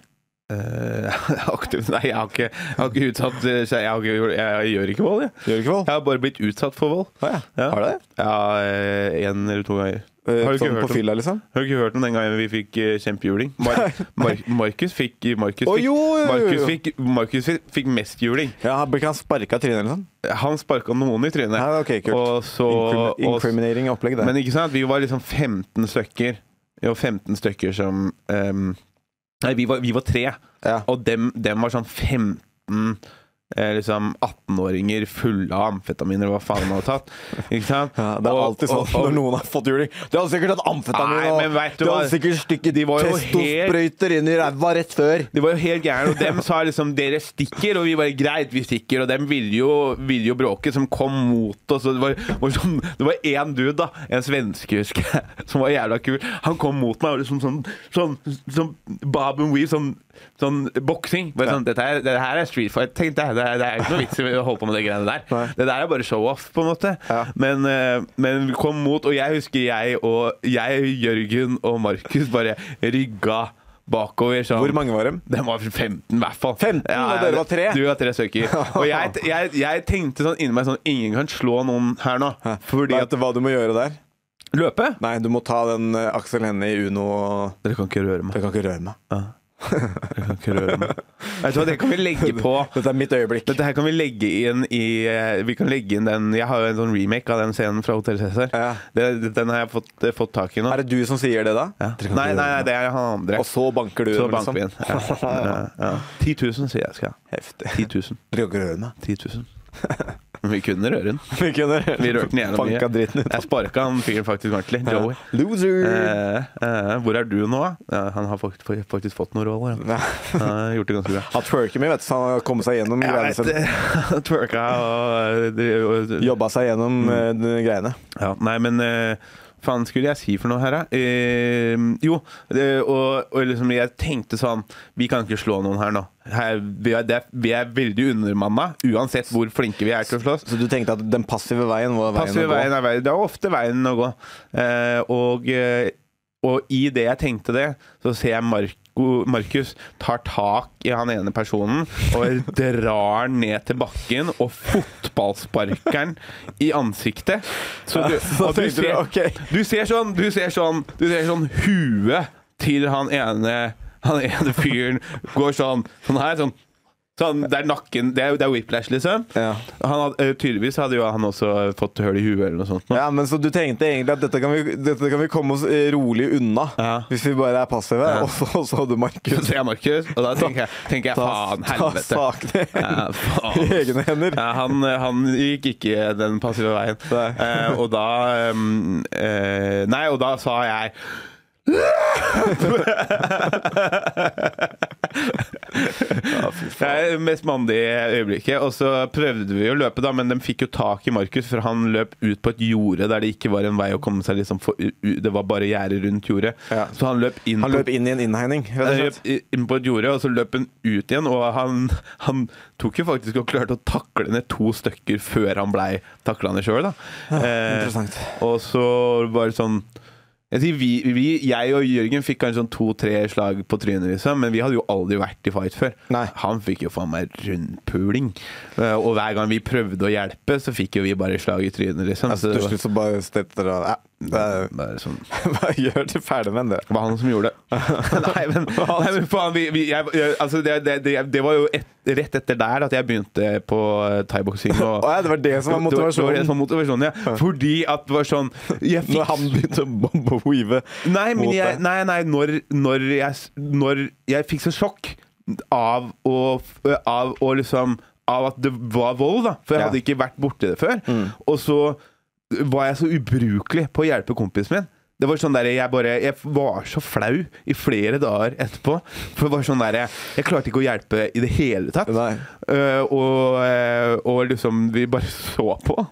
Speaker 3: Eh, aktiv, nei, jeg har ikke, jeg har ikke utsatt eh, Jeg, har ikke, gjort- jeg, jeg gjør ikke vold, jeg.
Speaker 2: Gjør du ikke vold?
Speaker 3: Jeg har bare blitt utsatt for vold.
Speaker 2: Å ja.
Speaker 3: Ja.
Speaker 2: Har du det?
Speaker 3: Ja, én eller to ganger.
Speaker 2: Eh,
Speaker 3: Har du ikke
Speaker 2: sånn
Speaker 3: hørt
Speaker 2: på
Speaker 3: om-
Speaker 2: fylla, liksom?
Speaker 3: Har du ikke hørt om den gangen vi fikk eh, kjempejuling? Mar Mar Markus fikk Markus
Speaker 2: Å,
Speaker 3: fikk,
Speaker 2: jo, jo, jo, jo.
Speaker 3: Markus fikk, Markus fikk, fikk mest juling.
Speaker 2: Ja, han Ble ikke han sparka i trynet eller sånn?
Speaker 3: Han sparka noen i trynet.
Speaker 2: Ja, ok, kult.
Speaker 3: Og så,
Speaker 2: Incrimi-
Speaker 3: og,
Speaker 2: Incriminating opplegg, det.
Speaker 3: men ikke sant, vi var liksom 15 stykker. Jo, 15 stykker som ehm, Nei, vi var, vi var tre.
Speaker 2: Ja.
Speaker 3: Og dem, dem var sånn 15 eh, liksom 18-åringer fulle av amfetaminer, hva faen de hadde tatt. Ikke sant?
Speaker 2: ja, det er
Speaker 3: Og-
Speaker 2: alltid sånn
Speaker 3: og- og-
Speaker 2: når noen har fått juling. De hadde sikkert hatt amfetamin
Speaker 3: Nei,
Speaker 2: og
Speaker 3: men vet du
Speaker 2: de
Speaker 3: hva?
Speaker 2: hadde sikkert stykket
Speaker 3: De var jo
Speaker 2: testosprøyter inn i ræva rett før.
Speaker 3: De var jo helt gærne, og dem sa liksom 'dere stikker', og vi bare 'greit, vi stikker'. Og dem ville jo, ville jo bråke, som kom mot oss. Og det var, var sånn, det var én dude, da, en svenske, husker jeg, som var jævla kul. Han kom mot meg og liksom sånn, sånn, sånn Bob and Weave, sånn, sånn boksing. Bare sånn, dette, er, dette her er street fight. Tenkte jeg, det, er- det er ikke noe vits i å holde på med de greiene der.
Speaker 2: Nei.
Speaker 3: Det der er bare show-off, på en måte.
Speaker 2: Ja.
Speaker 3: Men, eh, men vi kom mot, og jeg husker jeg og jeg, Jørgen og Markus bare rygga bakover. Sånn.
Speaker 2: Hvor mange var dem?
Speaker 3: Den var 15 i hvert fall.
Speaker 2: 15, og dere var tre?
Speaker 3: Du var tre stykker. Og jeg, jeg, jeg tenkte sånn inni meg sånn Ingen kan slå noen her nå. Fordi
Speaker 2: Vet
Speaker 3: at
Speaker 2: du hva du må gjøre der?
Speaker 3: Løpe?
Speaker 2: Nei, du må ta den eh, Aksel Hennie i Uno og
Speaker 3: Dere kan ikke røre meg.
Speaker 2: Jeg kan ikke røre meg.
Speaker 3: Dere kan ikke røre meg. Vet du hva, det kan vi legge på.
Speaker 2: Dette er mitt øyeblikk.
Speaker 3: Dette her kan vi legge inn i eh, Vi kan legge inn den Jeg har jo en sånn remake av den scenen fra Hotell Cæsar.
Speaker 2: Ja.
Speaker 3: Det- Den har jeg fått, eh, fått tak i nå.
Speaker 2: Er det du som sier det, da?
Speaker 3: Ja.
Speaker 2: Dere kan ikke
Speaker 3: Nei,
Speaker 2: røre
Speaker 3: nei, nei,
Speaker 2: meg.
Speaker 3: det er han andre.
Speaker 2: Og så banker du liksom?
Speaker 3: Så
Speaker 2: dem,
Speaker 3: banker vi inn. Ja. Ja, ja. 10 000 sier jeg skal ha.
Speaker 2: Heftig.
Speaker 3: 10 000.
Speaker 2: Dere kan ikke røre meg.
Speaker 3: 10 000. Men vi kunne røre den.
Speaker 2: Vi kunne røre-
Speaker 3: Vi rørte den gjennom
Speaker 2: Banka dritten ut.
Speaker 3: Jeg sparka han fyren faktisk ordentlig. Joey.
Speaker 2: Loser!
Speaker 3: Eh, eh, hvor er du nå? Ja, han har fakt- faktisk fått noen roller. Han. Han har gjort det ganske bra.
Speaker 2: Han twerker mye, vet du, så han har kommet seg gjennom
Speaker 3: Jeg
Speaker 2: greiene
Speaker 3: vet
Speaker 2: sine.
Speaker 3: det. Han Twerka og, og, og
Speaker 2: Jobba seg gjennom eh, de
Speaker 3: Mm.
Speaker 2: greiene.
Speaker 3: ja, Nei, men eh, faen skulle jeg si for noe her, da? Eh, jo, det- og, og liksom jeg tenkte sånn Vi kan ikke slå noen her nå. Her, vi, er, det, vi er veldig undermanna, uansett hvor flinke vi er til å slåss.
Speaker 2: Så du tenkte at den passive veien var veien
Speaker 3: Passiv
Speaker 2: å gå?
Speaker 3: veien er veien. Det er ofte veien å gå. Eh, og, eh, og i det jeg tenkte det, så ser jeg Marco, Markus tar tak i han ene personen og drar han ned til bakken og fotballsparker han i ansiktet. Så du,
Speaker 2: så
Speaker 3: og du,
Speaker 2: tenkte du,
Speaker 3: ser,
Speaker 2: ok.
Speaker 3: du ser sånn Du ser sånn, du ser sånn huet til han ene han ene fyren går sånn Sånn her, sånn Sånn, det er nakken Det er, det er whiplash, liksom.
Speaker 2: Ja.
Speaker 3: Han hadde, eh, tydeligvis hadde jo han også fått hull i huet eller noe sånt. nå.
Speaker 2: Ja, men Så du tenkte egentlig at dette kan vi, dette kan vi komme oss eh, rolig unna
Speaker 3: Ja.
Speaker 2: hvis vi bare er passive?
Speaker 3: Ja.
Speaker 2: Og, så, og så hadde
Speaker 3: Så
Speaker 2: Markus
Speaker 3: ser jeg Markus, og da tenker jeg, tenker jeg
Speaker 2: Ta-
Speaker 3: faen,
Speaker 2: ta
Speaker 3: helvete.
Speaker 2: sakene
Speaker 3: Ja, faen.
Speaker 2: i egne hender.
Speaker 3: Ja, han, eh, han gikk ikke den passive veien.
Speaker 2: Nei.
Speaker 3: Eh, og da um, eh, Nei, og da sa jeg Det er det mest mandige øyeblikket. Og så prøvde vi å løpe, da, men de fikk jo tak i Markus, for han løp ut på et jorde der det ikke var en vei å komme seg liksom for, u- Det var bare gjerde rundt jordet.
Speaker 2: Ja.
Speaker 3: Så han løp inn
Speaker 2: Han
Speaker 3: på-
Speaker 2: løp inn i en innhegning. rett og
Speaker 3: han
Speaker 2: slett.
Speaker 3: løp i- inn på et jorde, og så løp han ut igjen. Og han, han tok jo faktisk og klarte å takle ned to stykker før han blei taklende sjøl, da. Eh,
Speaker 2: interessant.
Speaker 3: og så var det sånn jeg, sier, vi, vi, jeg og Jørgen fikk kanskje sånn to-tre slag på trynet, liksom, men vi hadde jo aldri vært i fight før.
Speaker 2: Nei.
Speaker 3: Han fikk jo faen meg rundpuling. Eh, Og hver gang vi prøvde å hjelpe, så fikk jo vi bare slag i trynet, liksom. Så
Speaker 2: Til
Speaker 3: det
Speaker 2: Altså, slutt så bare stetter han Nei, det
Speaker 3: var,
Speaker 2: er-
Speaker 3: bare sånn
Speaker 2: Hva gjør til ferdig med det?
Speaker 3: det var han som gjorde det. nei, men, nei, men faen, vi, vi, jeg, jeg, altså, det, det, det, det var jo et, rett etter der at jeg begynte på eh, thaiboksing. og-
Speaker 2: Å ja, det var det som var
Speaker 3: Det det var
Speaker 2: motivasjonen.
Speaker 3: det som var motivasjonen, ja. Fordi at det var sånn jeg fikk,
Speaker 2: Når han begynte å bombe og weave
Speaker 3: Nei, men
Speaker 2: mot
Speaker 3: jeg,
Speaker 2: deg.
Speaker 3: nei, nei når, når, jeg, s- når jeg fikk så sjokk av å, f- av å liksom Av at det var vold, da. For jeg
Speaker 2: Ja. Mm.
Speaker 3: hadde ikke vært borti det før. Og så var jeg så ubrukelig på å hjelpe kompisen min. Det var sånn der, jeg, bare, jeg var så flau i flere dager etterpå. For det var sånn der, jeg, jeg klarte ikke å hjelpe i det hele tatt.
Speaker 2: Nei.
Speaker 3: Eh, og, eh, og liksom Vi bare så på.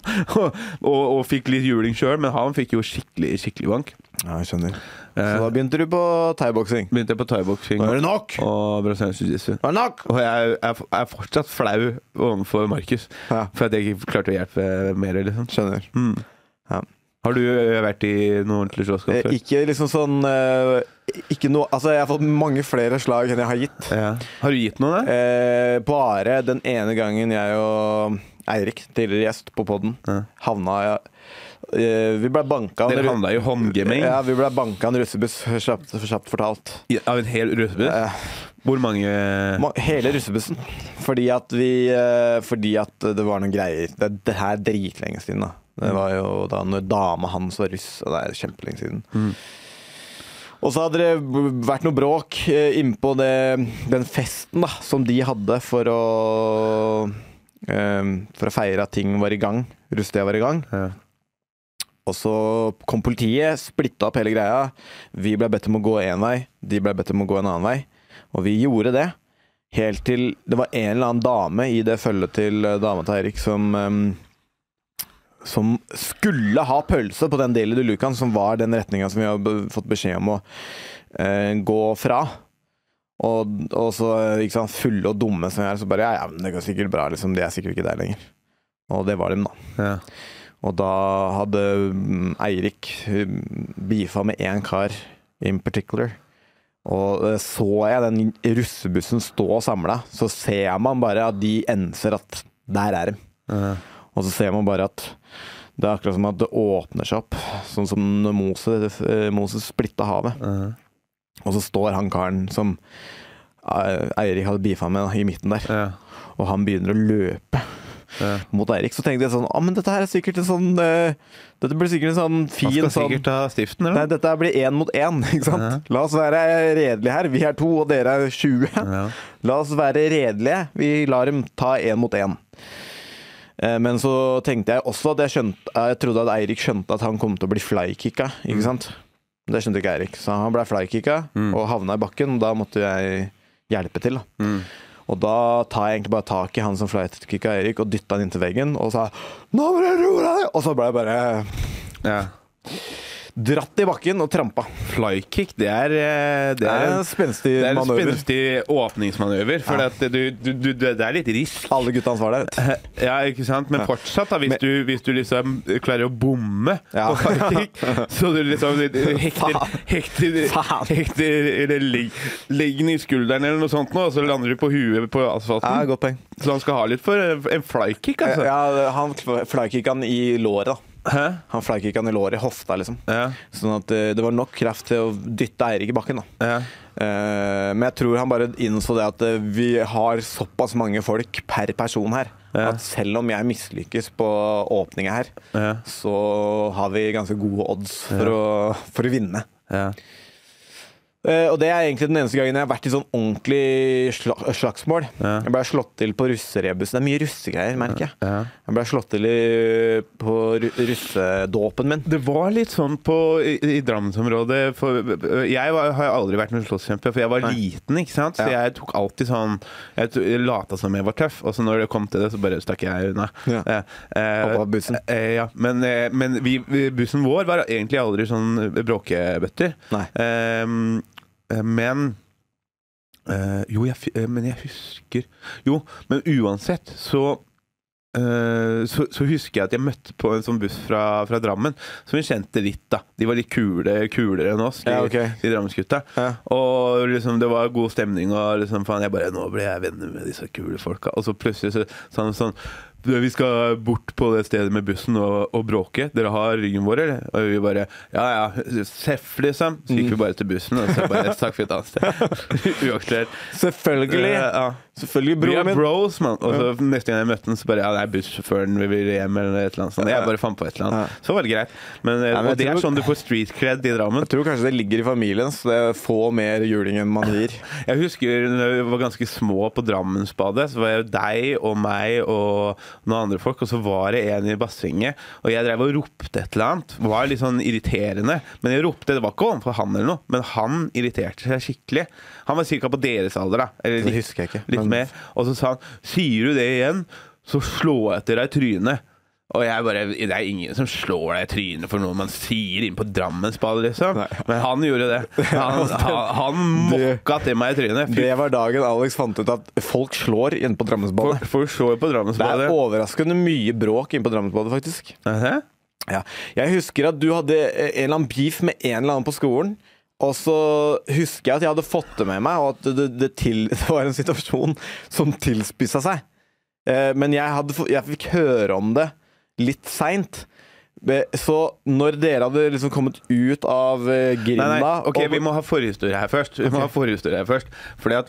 Speaker 3: og, og fikk litt juling sjøl, men han fikk jo skikkelig skikkelig bank.
Speaker 2: Ja, jeg skjønner. Så da begynte du på thaiboksing.
Speaker 3: begynte jeg på thaiboksing
Speaker 2: Eh. Nå er det nok! Nå
Speaker 3: og brasiliansk jiu-jitsu.
Speaker 2: er det nok!
Speaker 3: Og jeg, jeg, jeg er fortsatt flau overfor Markus
Speaker 2: Ja.
Speaker 3: for at jeg ikke klarte å hjelpe mer. Liksom.
Speaker 2: Skjønner.
Speaker 3: Mm.
Speaker 2: Ja.
Speaker 3: Har du ø, vært i noe ordentlig slåsskamp
Speaker 2: Eh,
Speaker 3: før?
Speaker 2: Ikke liksom sånn eh, Ikke noe Altså, jeg har fått mange flere slag enn jeg har gitt.
Speaker 3: Ja. Har du gitt noen, da?
Speaker 2: Eh, bare den ene gangen jeg og Eirik, tidligere gjest på poden,
Speaker 3: Ja.
Speaker 2: havna eh, Vi ble banka av en
Speaker 3: Dere
Speaker 2: ru-
Speaker 3: handla jo håndgaming
Speaker 2: Ja, vi ble banka av en russebuss, kjapt, kjapt fortalt.
Speaker 3: i- av en hel russebuss.
Speaker 2: Eh,
Speaker 3: Hvor mange
Speaker 2: ma- hele russebussen. Fordi at vi eh, Fordi at det var noen greier. Det, det her er dritlenge siden, da. Det var jo da når dama hans var russ, og det er kjempelenge siden. Og så hadde det b- vært noe bråk eh, innpå det, den festen da, som de hadde for å eh, For å feire at ting var i gang. Rustia var i gang.
Speaker 3: Ja.
Speaker 2: Og så kom politiet, splitta opp hele greia. Vi ble bedt om å gå én vei, de ble bedt om å gå en annen vei. Og vi gjorde det. Helt til det var en eller annen dame i det følget til eh, dama til Eirik som eh, som skulle ha pølse på den delen du Lukan, som var den retninga som vi har be- fått beskjed om å eh, gå fra. Og, og så eh, ikke sant, fulle og dumme som vi er, så bare ja, ja, men det går sikkert bra, liksom. De er sikkert ikke der lenger. Og det var dem, da.
Speaker 3: Ja.
Speaker 2: Og da hadde mm, Eirik mm, beefa med én kar in particular. Og eh, så jeg den russebussen stå samla, så ser man bare at de enser at der er de.
Speaker 3: Ja.
Speaker 2: Og så ser man bare at det er akkurat som at det åpner seg opp, sånn som når Moses, eh, Moses splitta havet.
Speaker 3: Ja.
Speaker 2: Og så står han karen som eh, Eirik hadde beefa med, i midten der,
Speaker 3: Ja.
Speaker 2: og han begynner å løpe.
Speaker 3: Ja.
Speaker 2: Mot Eirik så tenkte jeg sånn ah, men dette her er sikkert en sånn eh, Dette blir sikkert en sånn
Speaker 3: Han
Speaker 2: fin
Speaker 3: skal
Speaker 2: sånn
Speaker 3: sikkert ta stiften,
Speaker 2: Nei,
Speaker 3: eller?
Speaker 2: dette her blir én mot én, ikke sant? La oss være redelige her. Vi er to, og dere er 20.
Speaker 3: Ja.
Speaker 2: La oss være redelige. Vi lar dem ta én mot én. Eh, Men så tenkte jeg også at jeg, skjønte, eh, jeg trodde at Eirik skjønte at han kom til å bli flykicka, ikke sant? Men Det skjønte ikke Eirik, så han ble flykicka og havna i bakken. og Da måtte jeg hjelpe til. da. Og da tar jeg egentlig bare tak i han som flykicka Eirik, og dytta han inntil veggen og sa 'Nå må du roe deg!' Og så ble jeg bare
Speaker 3: Ja.
Speaker 2: dratt i bakken og trampa.
Speaker 3: Flykick, det er eh, Det
Speaker 2: Det er
Speaker 3: er
Speaker 2: en spenstig
Speaker 3: det er en
Speaker 2: manøver.
Speaker 3: spenstig åpningsmanøver, for at du, du, du, det er litt risk.
Speaker 2: Alle gutta hans var der. vet du.
Speaker 3: Ja, ikke sant? Men fortsatt, da, hvis,
Speaker 2: Men-
Speaker 3: du, hvis du liksom klarer å bomme
Speaker 2: Ja.
Speaker 3: på fighting, så du liksom du- du hekter,
Speaker 2: Faen.
Speaker 3: hekter,
Speaker 2: Faen.
Speaker 3: hekter eller leg- legger den i skulderen eller noe sånt, nå, og så lander du på huet på
Speaker 2: Ja,
Speaker 3: asfalten.
Speaker 2: godt poeng.
Speaker 3: Så han skal ha litt for en flykick, altså.
Speaker 2: Ja, han flykicka han i låret. da.
Speaker 3: Hæ?
Speaker 2: Han flykicka han i låret, i hofta, liksom.
Speaker 3: Ja.
Speaker 2: Sånn at eh, det var nok kraft til å dytte Eirik i bakken. da.
Speaker 3: Ja.
Speaker 2: Eh, men jeg tror han bare innså det at eh, vi har såpass mange folk per person her,
Speaker 3: Ja.
Speaker 2: at selv om jeg mislykkes på åpninga her,
Speaker 3: Ja.
Speaker 2: så har vi ganske gode odds for, å, for å vinne.
Speaker 3: Ja.
Speaker 2: Eh, Eh, og det er egentlig den eneste gangen jeg har vært i sånn ordentlig sla slagsmål.
Speaker 3: Ja.
Speaker 2: Jeg ble slått til på russerebussen. Det er mye russegreier, merker jeg.
Speaker 3: Ja.
Speaker 2: Jeg ble slått til i, på ru- russedåpen min.
Speaker 3: Det var litt sånn på, i, i Drammensområdet for, Jeg var, har aldri vært noen slåsskjempe, for jeg var
Speaker 2: Nei.
Speaker 3: liten. ikke sant? Så
Speaker 2: Ja.
Speaker 3: jeg tok alltid sånn Jeg, to- jeg lata som jeg var tøff, og så når det kom til det, så bare stakk jeg unna.
Speaker 2: Ja.
Speaker 3: Eh, eh,
Speaker 2: Hoppa av bussen.
Speaker 3: Eh, ja. Men, eh, men vi, vi- bussen vår var egentlig aldri sånn bråkebøtter.
Speaker 2: Nei.
Speaker 3: Eh, men eh, Jo, jeg, fi- eh, men jeg husker Jo, men uansett så Eh, så, så husker jeg at jeg møtte på en sånn buss fra, fra Drammen som vi kjente litt, da. De var litt kule, kulere enn oss, de,
Speaker 2: Ja, ok.
Speaker 3: de drammensgutta.
Speaker 2: Ja.
Speaker 3: Og liksom, det var god stemning, og liksom, faen, jeg bare Nå ble jeg venner med disse kule folka. Og så plutselig så, sånn, sånn «Du, vi skal bort på det stedet med bussen og, og bråke. Dere har ryggen vår, eller? Og vi bare Ja ja, seff, liksom. Så
Speaker 2: Mm.
Speaker 3: gikk vi bare til bussen, og så bare stakk vi et annet sted. Uaktuelt.
Speaker 2: Selvfølgelig!
Speaker 3: Ja.
Speaker 2: Selvfølgelig,
Speaker 3: Vi er
Speaker 2: broren min.
Speaker 3: bros, mann. Og så neste gang jeg møtte den, så bare Ja, det er bussjåføren vi vil hjem, eller et eller annet sånt. Jeg bare fant på et eller annet. Så var det greit. Men, eh,
Speaker 2: Ja, men jeg
Speaker 3: og det er
Speaker 2: tror-
Speaker 3: sånn du får street cred i Drammen.
Speaker 2: Jeg tror kanskje det ligger i familien, så det er få mer juling enn man gir.
Speaker 3: Jeg husker når vi var ganske små på Drammensbadet, så var jo deg og meg og noen andre folk, og så var det en i bassenget, og jeg drev og ropte et eller annet. Det var litt sånn irriterende, men jeg ropte, det var ikke overfor han eller noe, men han irriterte seg skikkelig. Han var cirka på deres alder, da. Eller
Speaker 2: Det husker jeg ikke,
Speaker 3: Litt
Speaker 2: men-
Speaker 3: mer. Og så sa han, sier du det igjen, så slår jeg til deg i trynet. Og jeg bare, Det er ingen som slår deg i trynet for noe man sier inne på Drammensbadet, liksom. Men han gjorde det. Han, han, han
Speaker 2: Det-
Speaker 3: mokka til meg i trynet. Fy
Speaker 2: Det var dagen Alex fant ut at folk slår inne på Drammensbadet.
Speaker 3: Folk, folk slår
Speaker 2: Det
Speaker 3: på
Speaker 2: er
Speaker 3: Drammensbadet.
Speaker 2: overraskende mye bråk inne på Drammensbadet, faktisk.
Speaker 3: Hæ?
Speaker 2: Ja. Jeg husker at du hadde eh, en eller annen beef med en eller annen på skolen. Og så husker jeg at jeg hadde fått det med meg, og at det, det, til, det var en situasjon som tilspissa seg. Eh, Men jeg, hadde, få- jeg fikk høre om det litt seint. Eh, Så når dere hadde liksom kommet ut av eh,
Speaker 3: Nei,
Speaker 2: grinda
Speaker 3: nei, ok,
Speaker 2: og-
Speaker 3: vi må ha forhistorie her først. Vi må ha forhistorie her først. Fordi at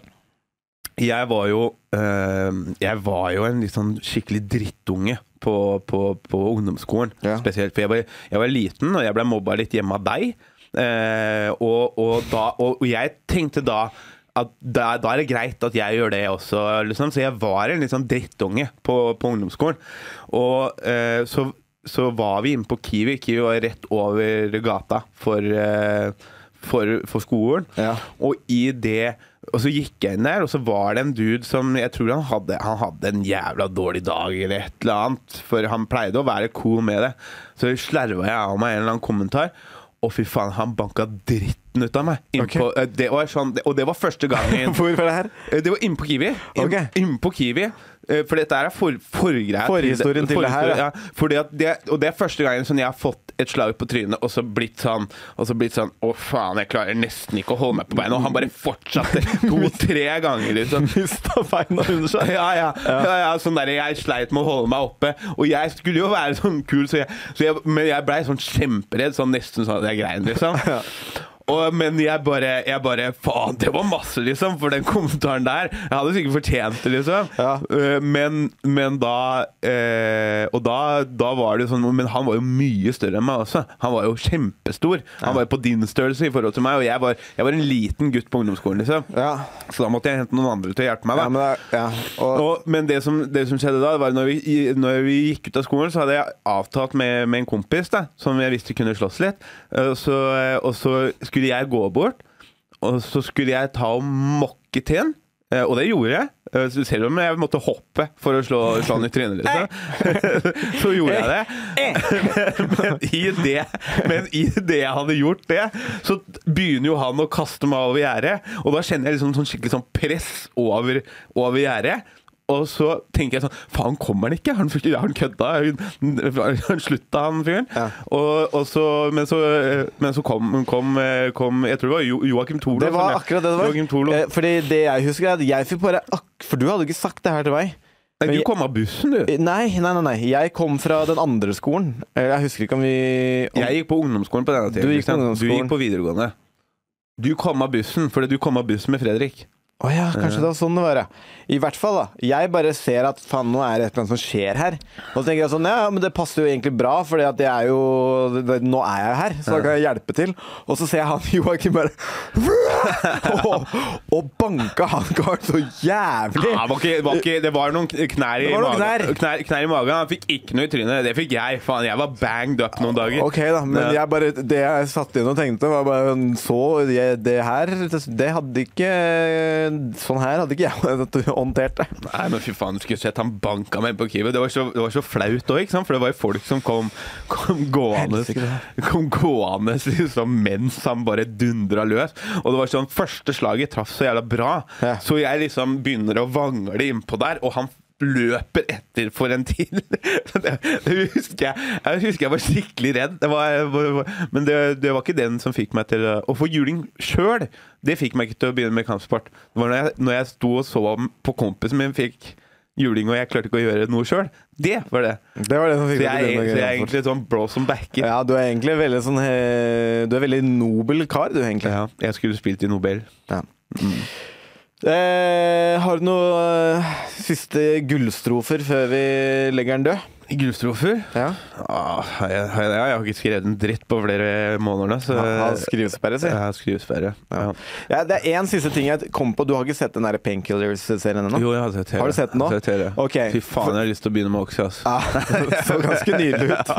Speaker 3: jeg var jo eh, Jeg var jo en litt sånn skikkelig drittunge på, på, på ungdomsskolen.
Speaker 2: Ja.
Speaker 3: Spesielt, for jeg var, jeg var liten, og jeg ble mobba litt hjemme av deg. Eh, og, og, da, og, og jeg tenkte da at da, da er det greit at jeg gjør det også, liksom. Så jeg var en litt sånn drittunge på, på ungdomsskolen. Og eh, så, så var vi inne på Kiwi. Kiwi var rett over gata for, eh, for, for skolen.
Speaker 2: Ja.
Speaker 3: Og i det og så gikk jeg inn der, og så var det en dude som Jeg tror han hadde, han hadde en jævla dårlig dag eller et eller annet, for han pleide å være cool med det. Så slerva jeg av meg en eller annen kommentar, og fy faen, han banka dritten ut av meg. Innpå, eh, det var sånn, og det var første gangen
Speaker 2: Hvor var det her?
Speaker 3: Eh, Det var innpå Kiwi. Inn,
Speaker 2: Ok.
Speaker 3: innpå Kiwi. Eh, For dette her er for, forgreia
Speaker 2: Forhistorien til det her,
Speaker 3: forhistorie-
Speaker 2: ja.
Speaker 3: Ja, fordi at det, og det er første gangen sånn jeg har fått et slag på trynet og så blitt sånn Og så blitt sånn Å, faen, jeg klarer nesten ikke å holde meg på beina. Og han bare fortsatte to-tre ganger, liksom. Mista beina under seg. Ja, ja. ja, ja sånn der, jeg sleit med å holde meg oppe. Og jeg skulle jo være sånn kul, så jeg, så jeg, men jeg blei sånn kjemperedd. Sånn nesten sånn at jeg grein, liksom. Og, men jeg bare, jeg bare Faen, det var masse, liksom, for den kommentaren der. Jeg hadde sikkert fortjent det, liksom.
Speaker 2: Ja.
Speaker 3: Eh, men, men da eh, Og da, da var det sånn Men han var jo mye større enn meg også. Han var jo kjempestor. Han var jo på din størrelse i forhold til meg, og jeg var, jeg var en liten gutt på ungdomsskolen, liksom.
Speaker 2: Ja.
Speaker 3: Så da måtte jeg hente noen andre til å hjelpe meg.
Speaker 2: Ja,
Speaker 3: Da.
Speaker 2: men, det er- ja. Og,
Speaker 3: Og, men det som, det som skjedde da, var når vi, når vi gikk ut av skolen, så hadde jeg avtalt med, med en kompis da, som jeg visste kunne slåss litt. Eh, Så, og så skulle jeg gå bort, og så skulle jeg ta og mokke til han. Eh, Og det gjorde jeg. Eh, så Selv om jeg måtte hoppe for å slå, slå han i trynet, liksom. Så gjorde jeg det. Men i det, men i det jeg hadde gjort det, så begynner jo han å kaste meg over gjerdet. Og da kjenner jeg liksom sånn skikkelig sånn press over, over gjerdet. Og så tenker jeg sånn Faen, kommer han ikke? Har han, har han kødda? Har han- har han slutta, han fyren?
Speaker 2: Ja.
Speaker 3: Og, og så, men så, men så kom, kom, kom Jeg tror det var jo, Joakim Tholo.
Speaker 2: Det var
Speaker 3: som-
Speaker 2: akkurat det det var.
Speaker 3: Joakim Tholo.
Speaker 2: Eh, Fordi det jeg husker, er at jeg fikk bare ak For du hadde ikke sagt det her til meg.
Speaker 3: Nei, du
Speaker 2: jeg- Eh,
Speaker 3: kom av bussen, du.
Speaker 2: Nei, nei, nei. nei. Jeg kom fra den andre skolen. Eh, Jeg husker ikke om vi om,
Speaker 3: Jeg gikk på ungdomsskolen på denne tiden.
Speaker 2: Du gikk på
Speaker 3: Christian.
Speaker 2: ungdomsskolen.
Speaker 3: du gikk på videregående. Du kom av bussen fordi du kom av bussen med Fredrik.
Speaker 2: Å ja, kanskje det var sånn det var, ja. I hvert fall, da. Jeg bare ser at faen, nå er det et eller annet som skjer her. Og så tenker jeg sånn, ja, men det passer jo egentlig bra, for nå er jeg jo her, så da kan jeg hjelpe til. Og så ser jeg han Joakim bare og, og banka han karen så jævlig.
Speaker 3: Ja, det, var ikke, var ikke, det var noen knær i
Speaker 2: Det var noen
Speaker 3: magen.
Speaker 2: knær.
Speaker 3: Knær, knær i magen. Han fikk ikke noe i trynet. Det fikk jeg. Faen, jeg var banged up noen dager.
Speaker 2: Ah, Ok, da, men
Speaker 3: Ja.
Speaker 2: jeg bare, det jeg satt inn og tenkte, var bare Så jeg, det her Det hadde ikke Sånn her hadde ikke jeg håndtert det.
Speaker 3: Nei, men fy faen, du skulle sett han banka meg på Kiwi. Det var så, det var så flaut òg, for det var jo folk som kom, kom gående
Speaker 2: Helsike,
Speaker 3: Kom gående liksom, mens han bare dundra løs. Og det var sånn Første slaget traff så jævla bra,
Speaker 2: Ja.
Speaker 3: så jeg liksom begynner å vangle innpå der, og han løper etter for en tid. Det, det husker jeg. Jeg husker jeg var skikkelig redd. Det var, men det, det var ikke den som fikk meg til å- Å få juling sjøl, det fikk meg ikke til å begynne med kampsport. Det var når jeg, når jeg sto og så på kompisen min fikk juling, og jeg klarte ikke å gjøre noe sjøl. Det var det.
Speaker 2: Det var det som fikk
Speaker 3: Så jeg,
Speaker 2: meg til å begynne å
Speaker 3: er- så jeg er
Speaker 2: grine.
Speaker 3: egentlig sånn bro som backer.
Speaker 2: Ja, du er egentlig veldig sånn eh, Du er veldig nobel kar, du, egentlig.
Speaker 3: Ja, jeg skulle spilt i Nobel.
Speaker 2: Ja. Eh, har du noe eh, siste gullstrofer før vi legger den død?
Speaker 3: Gullstrofer?
Speaker 2: Ja.
Speaker 3: Ah, jeg, jeg, jeg har ikke skrevet en dritt på flere måneder nå, så
Speaker 2: Av skrivesperre, si.
Speaker 3: Jeg har skrivesperre. Ja.
Speaker 2: Ja, det er én siste ting jeg kom på. Du har ikke sett den der Painkillers-serien ennå?
Speaker 3: Jo, jeg har sett hele.
Speaker 2: Har du sett den nå?
Speaker 3: Jeg har sett hele.
Speaker 2: Ok. Ah.
Speaker 3: Fy faen, jeg har lyst til å begynne med Oxy, ass.
Speaker 2: Ja, det så ganske nydelig ut.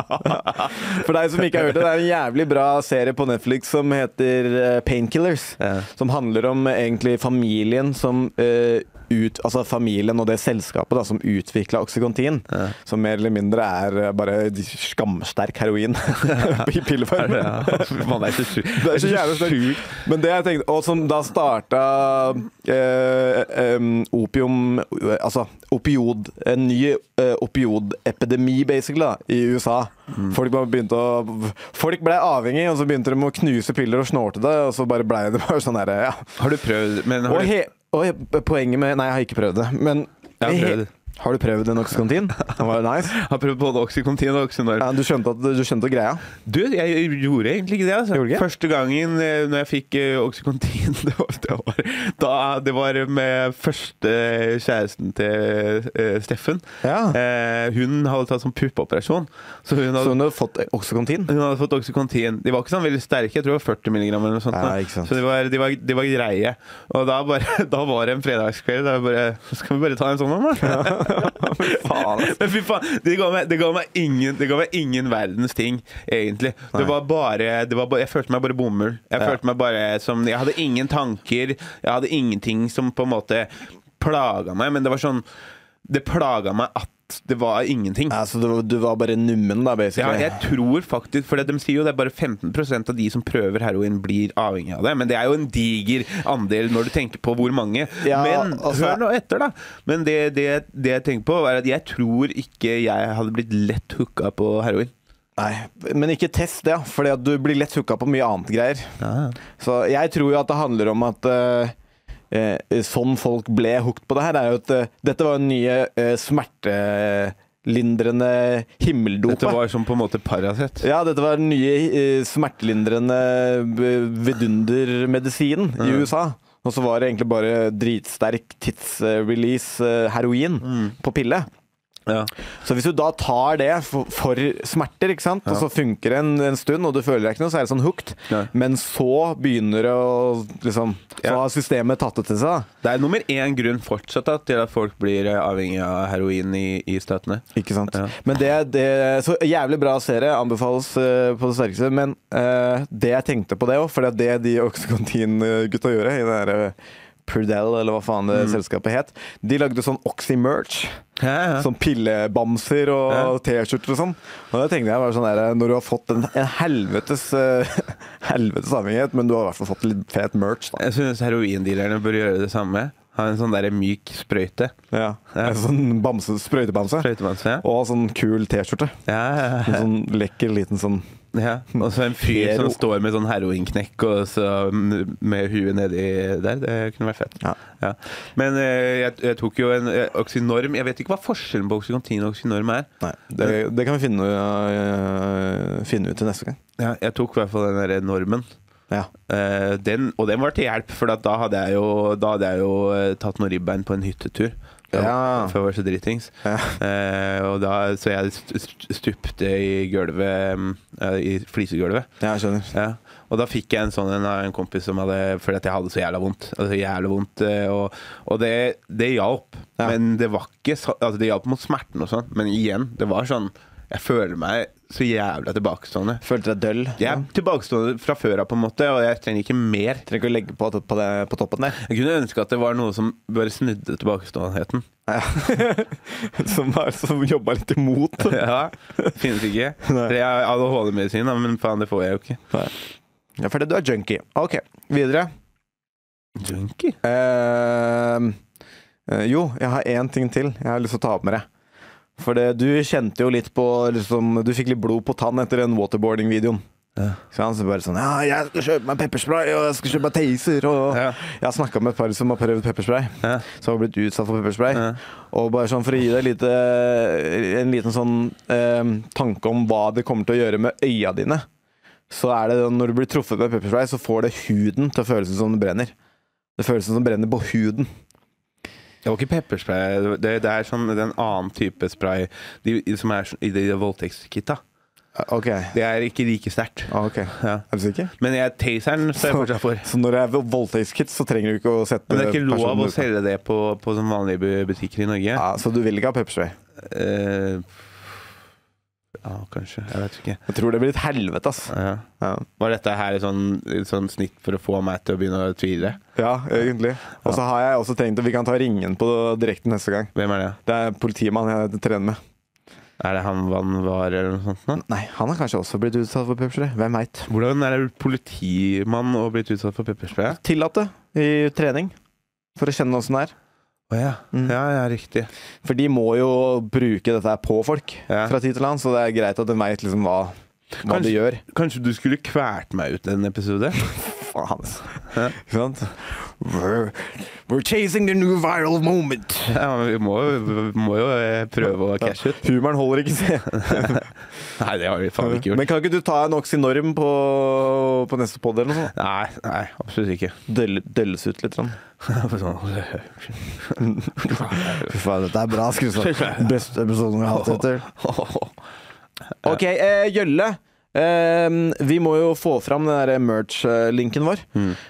Speaker 2: For deg som ikke har hørt det, det er en jævlig bra serie på Netflix som heter eh, Painkillers.
Speaker 3: Ja.
Speaker 2: Som handler om eh, egentlig familien som eh, ut, altså familien og det selskapet da, som utvikla Oxycontin, som mer eller mindre er eh, bare skamsterk heroin i pilleform.
Speaker 3: Ja, man er så sjuk.
Speaker 2: Det er så jævlig sterkt. Men det jeg tenkte, og som da starta eh, em, opium Altså opiod En ny eh, opiodepidemi, basically, da, i USA.
Speaker 3: Mm.
Speaker 2: Folk bare begynte å Folk ble avhengig, og så begynte de å knuse piller og snorte det, og så bare blei det bare sånn herre, ja.
Speaker 3: Har du prøvd Men har
Speaker 2: Og,
Speaker 3: du,
Speaker 2: he, og he, poenget med Nei, jeg har ikke prøvd det, men
Speaker 3: Jeg har prøvd det.
Speaker 2: Har du prøvd en Oxycontin? Det var jo nice.
Speaker 3: har prøvd både Oxycontin og Oxynorm?
Speaker 2: Ja, du skjønte, at, du skjønte greia?
Speaker 3: Du, jeg gjorde egentlig ikke det. Altså.
Speaker 2: Gjorde du ikke?
Speaker 3: Første gangen eh, når jeg fikk eh, Oxycontin, det var, det, var, da, det var med første kjæresten til eh, Steffen.
Speaker 2: Ja.
Speaker 3: Eh, hun hadde tatt sånn puppeoperasjon, så hun hadde
Speaker 2: Så hun har fått Oxycontin?
Speaker 3: hun hadde fått Oxycontin. De var ikke sånn veldig sterke, jeg tror det var 40 mg eller noe sånt.
Speaker 2: Ja,
Speaker 3: da.
Speaker 2: ikke sant.
Speaker 3: Så de var, de, var, de var greie. Og da, bare, da var det en fredagskveld da jeg bare Skal vi bare ta en sånn en, da?
Speaker 2: faen, ass.
Speaker 3: Men fy faen, det ga, meg, det, ga meg ingen, det ga meg ingen verdens ting, egentlig. Det var bare, det var bare Jeg følte meg bare bomull. Jeg følte meg bare som Jeg hadde ingen tanker. Jeg hadde ingenting som på en måte plaga meg, men det var sånn Det plaga meg at det var ingenting.
Speaker 2: Ja, så du, du var bare nummen, da,
Speaker 3: Ja,
Speaker 2: basically?
Speaker 3: jeg tror faktisk For de sier jo det er bare 15 av de som prøver heroin, blir avhengig av det. Men det er jo en diger andel når du tenker på hvor mange.
Speaker 2: Ja,
Speaker 3: Men
Speaker 2: altså-
Speaker 3: hør nå etter, da. Men det, det, det jeg tenker på, er at jeg tror ikke jeg hadde blitt lett hooka på heroin.
Speaker 2: Nei, men ikke test det, for du blir lett hooka på mye annet greier. Så jeg tror jo at det handler om at eh, eh, sånn folk ble hooked på det her, er jo at eh, dette var den nye eh, smertelindrende himmeldopa.
Speaker 3: Dette var som på en måte Paracet.
Speaker 2: Ja, dette var den nye eh, smertelindrende eh, vidundermedisinen i USA. Og så var det egentlig bare dritsterk tidsrelease eh, heroin
Speaker 3: Mm.
Speaker 2: på pille.
Speaker 3: Ja.
Speaker 2: Så hvis du da tar det for, for smerter, ikke sant? og så funker det en, en stund, og du føler deg ikke noe, så er det sånn hooked.
Speaker 3: Nei.
Speaker 2: Men så begynner det å liksom Så
Speaker 3: Ja.
Speaker 2: har systemet tatt det til seg. da.
Speaker 3: Det er nummer én grunn fortsatt da, til at folk blir eh, avhengig av heroin i, i statene.
Speaker 2: Ikke sant?
Speaker 3: Ja.
Speaker 2: Men det, det Så jævlig bra serie, anbefales eh, på det sterkeste. Men eh, det jeg tenkte på det òg, for det er det de Oxycontin-gutta gjør i det derre Prudel, eller hva faen
Speaker 3: Mm.
Speaker 2: det selskapet het. De lagde sånn Oxy-merch.
Speaker 3: Ja, ja.
Speaker 2: Sånn pillebamser og T-skjorter og sånn. Og da tenkte jeg bare sånn der, Når du har fått en, en helvetes uh, Helvetes avhengighet, men du har i hvert fall fått litt fet merch, da.
Speaker 3: Jeg synes heroindealerne bør gjøre det samme. Ha en sånn der myk sprøyte.
Speaker 2: Ja. En sånn bamse, sprøytebamse.
Speaker 3: Sprøytebamse.
Speaker 2: Og sånn kul T-skjorte.
Speaker 3: Ja, ja, ja.
Speaker 2: En sånn lekker liten sånn
Speaker 3: Ja, og så en fyr
Speaker 2: Hero.
Speaker 3: som står med sånn heroinknekk og så m- med huet nedi der. Det kunne vært fett.
Speaker 2: Ja.
Speaker 3: Men eh, jeg, jeg tok jo en eh, Oxynorm. Jeg vet ikke hva forskjellen på Oxycontin og Oxynorm er.
Speaker 2: Nei, det, det kan vi finne, øh, finne ut til neste gang.
Speaker 3: Ja, jeg tok i hvert fall den der normen.
Speaker 2: Ja.
Speaker 3: Eh, den, og den var til hjelp, for at da hadde jeg jo, da hadde jeg jo eh, tatt noen ribbein på en hyttetur.
Speaker 2: Ja.
Speaker 3: Før jeg var så dritings.
Speaker 2: Ja.
Speaker 3: Eh, og da, så jeg st- st- stupte i gulvet mm, eh, I flisegulvet.
Speaker 2: Ja, jeg skjønner.
Speaker 3: Ja. Og da fikk jeg en sånn en av en kompis som hadde Fordi at jeg hadde så jævla vondt. Altså, jævla vondt eh, og og det, det hjalp.
Speaker 2: Ja.
Speaker 3: Men det var ikke så, altså, Det hjalp mot smerten og sånn, men igjen, det var sånn Jeg føler meg så jævla tilbakestående.
Speaker 2: Følte deg døll?
Speaker 3: Jeg er tilbakestående fra før av, på en måte, og jeg trenger ikke mer.
Speaker 2: Trenger ikke å legge på, på, det, på toppen der.
Speaker 3: Jeg kunne ønske at det var noe som bare snudde tilbakeståendheten.
Speaker 2: Ja. som har- som jobba litt imot.
Speaker 3: Ja, Finnes ikke.
Speaker 2: Nei.
Speaker 3: Det er ADHD-medisin, da, men faen, det får jeg jo ikke.
Speaker 2: Ja, fordi du er junkie. Ok, videre.
Speaker 3: Junkie?
Speaker 2: Ehm, eh, jo, jeg har én ting til jeg har lyst til å ta opp med deg. For det, du kjente jo litt på liksom, Du fikk litt blod på tann etter den waterboarding-videoen.
Speaker 3: Ja.
Speaker 2: Så han så bare sånn Ja, jeg skal kjøpe meg pepperspray, og jeg skal kjøpe meg taser, og
Speaker 3: Ja.
Speaker 2: Jeg har snakka med et par som har prøvd pepperspray,
Speaker 3: Ja.
Speaker 2: som har blitt utsatt for pepperspray.
Speaker 3: Ja.
Speaker 2: Og bare sånn for å gi deg lite, en liten sånn ehm, tanke om hva det kommer til å gjøre med øya dine, så er det når du blir truffet med pepperspray, så får det huden til å føles som det brenner. Det føles som det brenner på huden.
Speaker 3: Det var ikke pepperspray. Det, det er sånn det er en annen type spray de, som er sånn- i de voldtektskitta.
Speaker 2: Ok.
Speaker 3: Det er ikke like sterkt.
Speaker 2: Ah, ok.
Speaker 3: Ja.
Speaker 2: Er du sikker?
Speaker 3: Men jeg, taseren står jeg fortsatt for.
Speaker 2: Så når det er voldtektskit, så trenger du ikke å sette
Speaker 3: Men det er ikke lov
Speaker 2: personen
Speaker 3: å
Speaker 2: ut.
Speaker 3: selge det på, på sånn vanlige bu- butikker i Norge.
Speaker 2: ja, Så du vil ikke ha pepperspray?
Speaker 3: Eh, ja, kanskje. Jeg vet ikke.
Speaker 2: Jeg tror det blir et helvete, ass.
Speaker 3: Ja.
Speaker 2: Ja,
Speaker 3: Var dette her et sånn, et sånn snitt for å få meg til å begynne å tvile?
Speaker 2: ja egentlig. Og så har jeg også tenkt at vi kan ta ringen på direkten neste gang.
Speaker 3: Hvem er det?
Speaker 2: Det er politimannen jeg trener med.
Speaker 3: Er det han Van Var eller noe sånt? nå?
Speaker 2: Nei, han har kanskje også blitt utsatt for pepperspray. Hvem veit?
Speaker 3: Hvordan er det politimann og blitt utsatt for pepperspray?
Speaker 2: Tillatt det i trening, for å kjenne åssen det er.
Speaker 3: Å ja.
Speaker 2: Mm.
Speaker 3: ja, ja, riktig.
Speaker 2: For de må jo bruke dette her på folk
Speaker 3: Ja.
Speaker 2: fra tid til annen, så det er greit at de veit liksom hva, hva
Speaker 3: Kanskje-
Speaker 2: de gjør.
Speaker 3: Kanskje du skulle kvært meg ut en episode?
Speaker 2: Faen, altså. Ikke sant? We're, we're chasing the new viral moment.
Speaker 3: Ja, men vi må, jo- vi må jo eh, prøve å cashe ut.
Speaker 2: Humoren holder ikke, se.
Speaker 3: Nei, det har vi faen ikke gjort.
Speaker 2: Men kan ikke du ta en Oxynorm på, på neste pod eller noe sånt?
Speaker 3: Nei, nei, absolutt ikke.
Speaker 2: Døll- Dølles ut litt. Sånn.
Speaker 3: Sånn.
Speaker 2: Fy faen, dette er bra, Skrustad. Beste episoden vi har hatt etter. Ok, eh, Gjølle. Eh, vi må jo få fram den der merch-linken vår.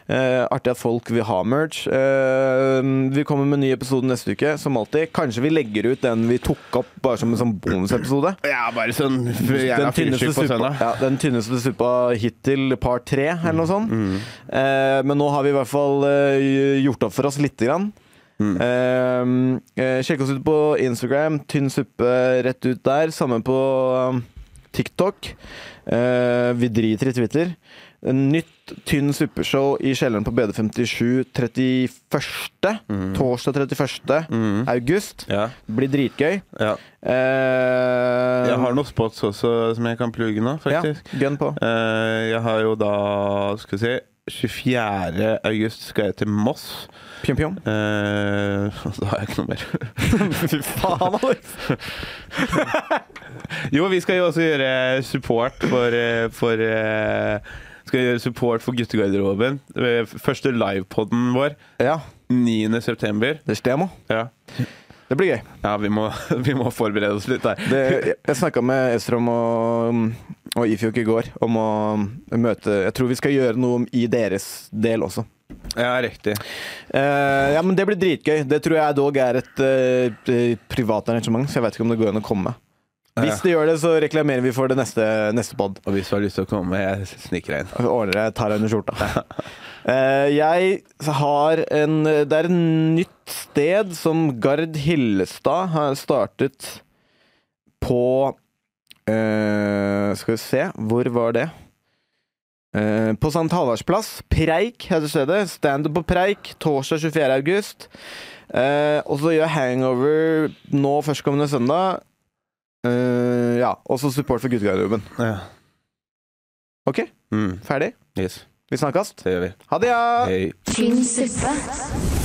Speaker 2: Eh, artig at folk vil ha merch. Eh, vi kommer med en ny episode neste uke, som alltid. Kanskje vi legger ut den vi tok opp bare som en sånn bonusepisode.
Speaker 3: Ja, bare sånn
Speaker 2: Den
Speaker 3: jævla
Speaker 2: tynneste,
Speaker 3: fyrstikk på
Speaker 2: suppa,
Speaker 3: søndag.
Speaker 2: ja, den tynneste suppa hittil, par tre, eller noe sånt.
Speaker 3: Mm.
Speaker 2: Eh, men nå har vi i hvert fall eh, gjort opp for oss lite grann.
Speaker 3: Mm.
Speaker 2: Eh, eh, sjekk oss ut på Instagram. Tynn suppe rett ut der. Samme på um, TikTok. Eh, vi driter i Twitter. Nytt Tynn suppeshow i kjelleren på BD57 31. Torsdag 31. august.
Speaker 3: Mm. Ja, Um,
Speaker 2: Blir dritgøy.
Speaker 3: ja.
Speaker 2: Eh,
Speaker 3: Jeg har noen spots også som jeg kan plugge nå, faktisk.
Speaker 2: ja, gønn på.
Speaker 3: Eh, jeg har jo da Skal vi se 24. august skal jeg til Moss.
Speaker 2: Pjom, pjom.
Speaker 3: Eh, da har jeg ikke noe mer.
Speaker 2: Fy faen, Alex!
Speaker 3: Jo, vi skal jo også gjøre support for, eh, for eh, Skal gjøre support for guttegarderoben. Eh, Første livepoden vår
Speaker 2: Ja,
Speaker 3: 9. september.
Speaker 2: det stemmer.
Speaker 3: Ja,
Speaker 2: Det blir gøy.
Speaker 3: ja vi, må, vi må forberede oss litt der.
Speaker 2: Det, jeg- jeg snakka med Estrom og, og Ifjok i går om å møte Jeg tror vi skal gjøre noe i deres del også.
Speaker 3: Ja, riktig.
Speaker 2: Eh, ja, men det blir dritgøy. Det tror jeg dog er et eh, privat arrangement, så jeg vet ikke om det går an å komme. Hvis det gjør det, så reklamerer vi for det neste, neste pod.
Speaker 3: Og hvis du har lyst til å komme, jeg sniker deg inn.
Speaker 2: Jeg Ordner jeg tar deg under skjorta. Eh, jeg har en Det er et nytt sted som Gard Hillestad har startet på eh, Skal vi se, hvor var det? Eh, på St. Halvards plass. Preik heter stedet. Standup på Preik torsdag 24. august. Eh, og så gjør Hangover nå førstkommende søndag. Eh, ja, og så support for guttegarderoben.
Speaker 3: Ja.
Speaker 2: OK,
Speaker 3: Mm,
Speaker 2: ferdig.
Speaker 3: yes,
Speaker 2: Vi snakkes.
Speaker 3: det gjør vi.
Speaker 2: Ha det, ja!
Speaker 3: Hei.
Speaker 1: Tynn suppe.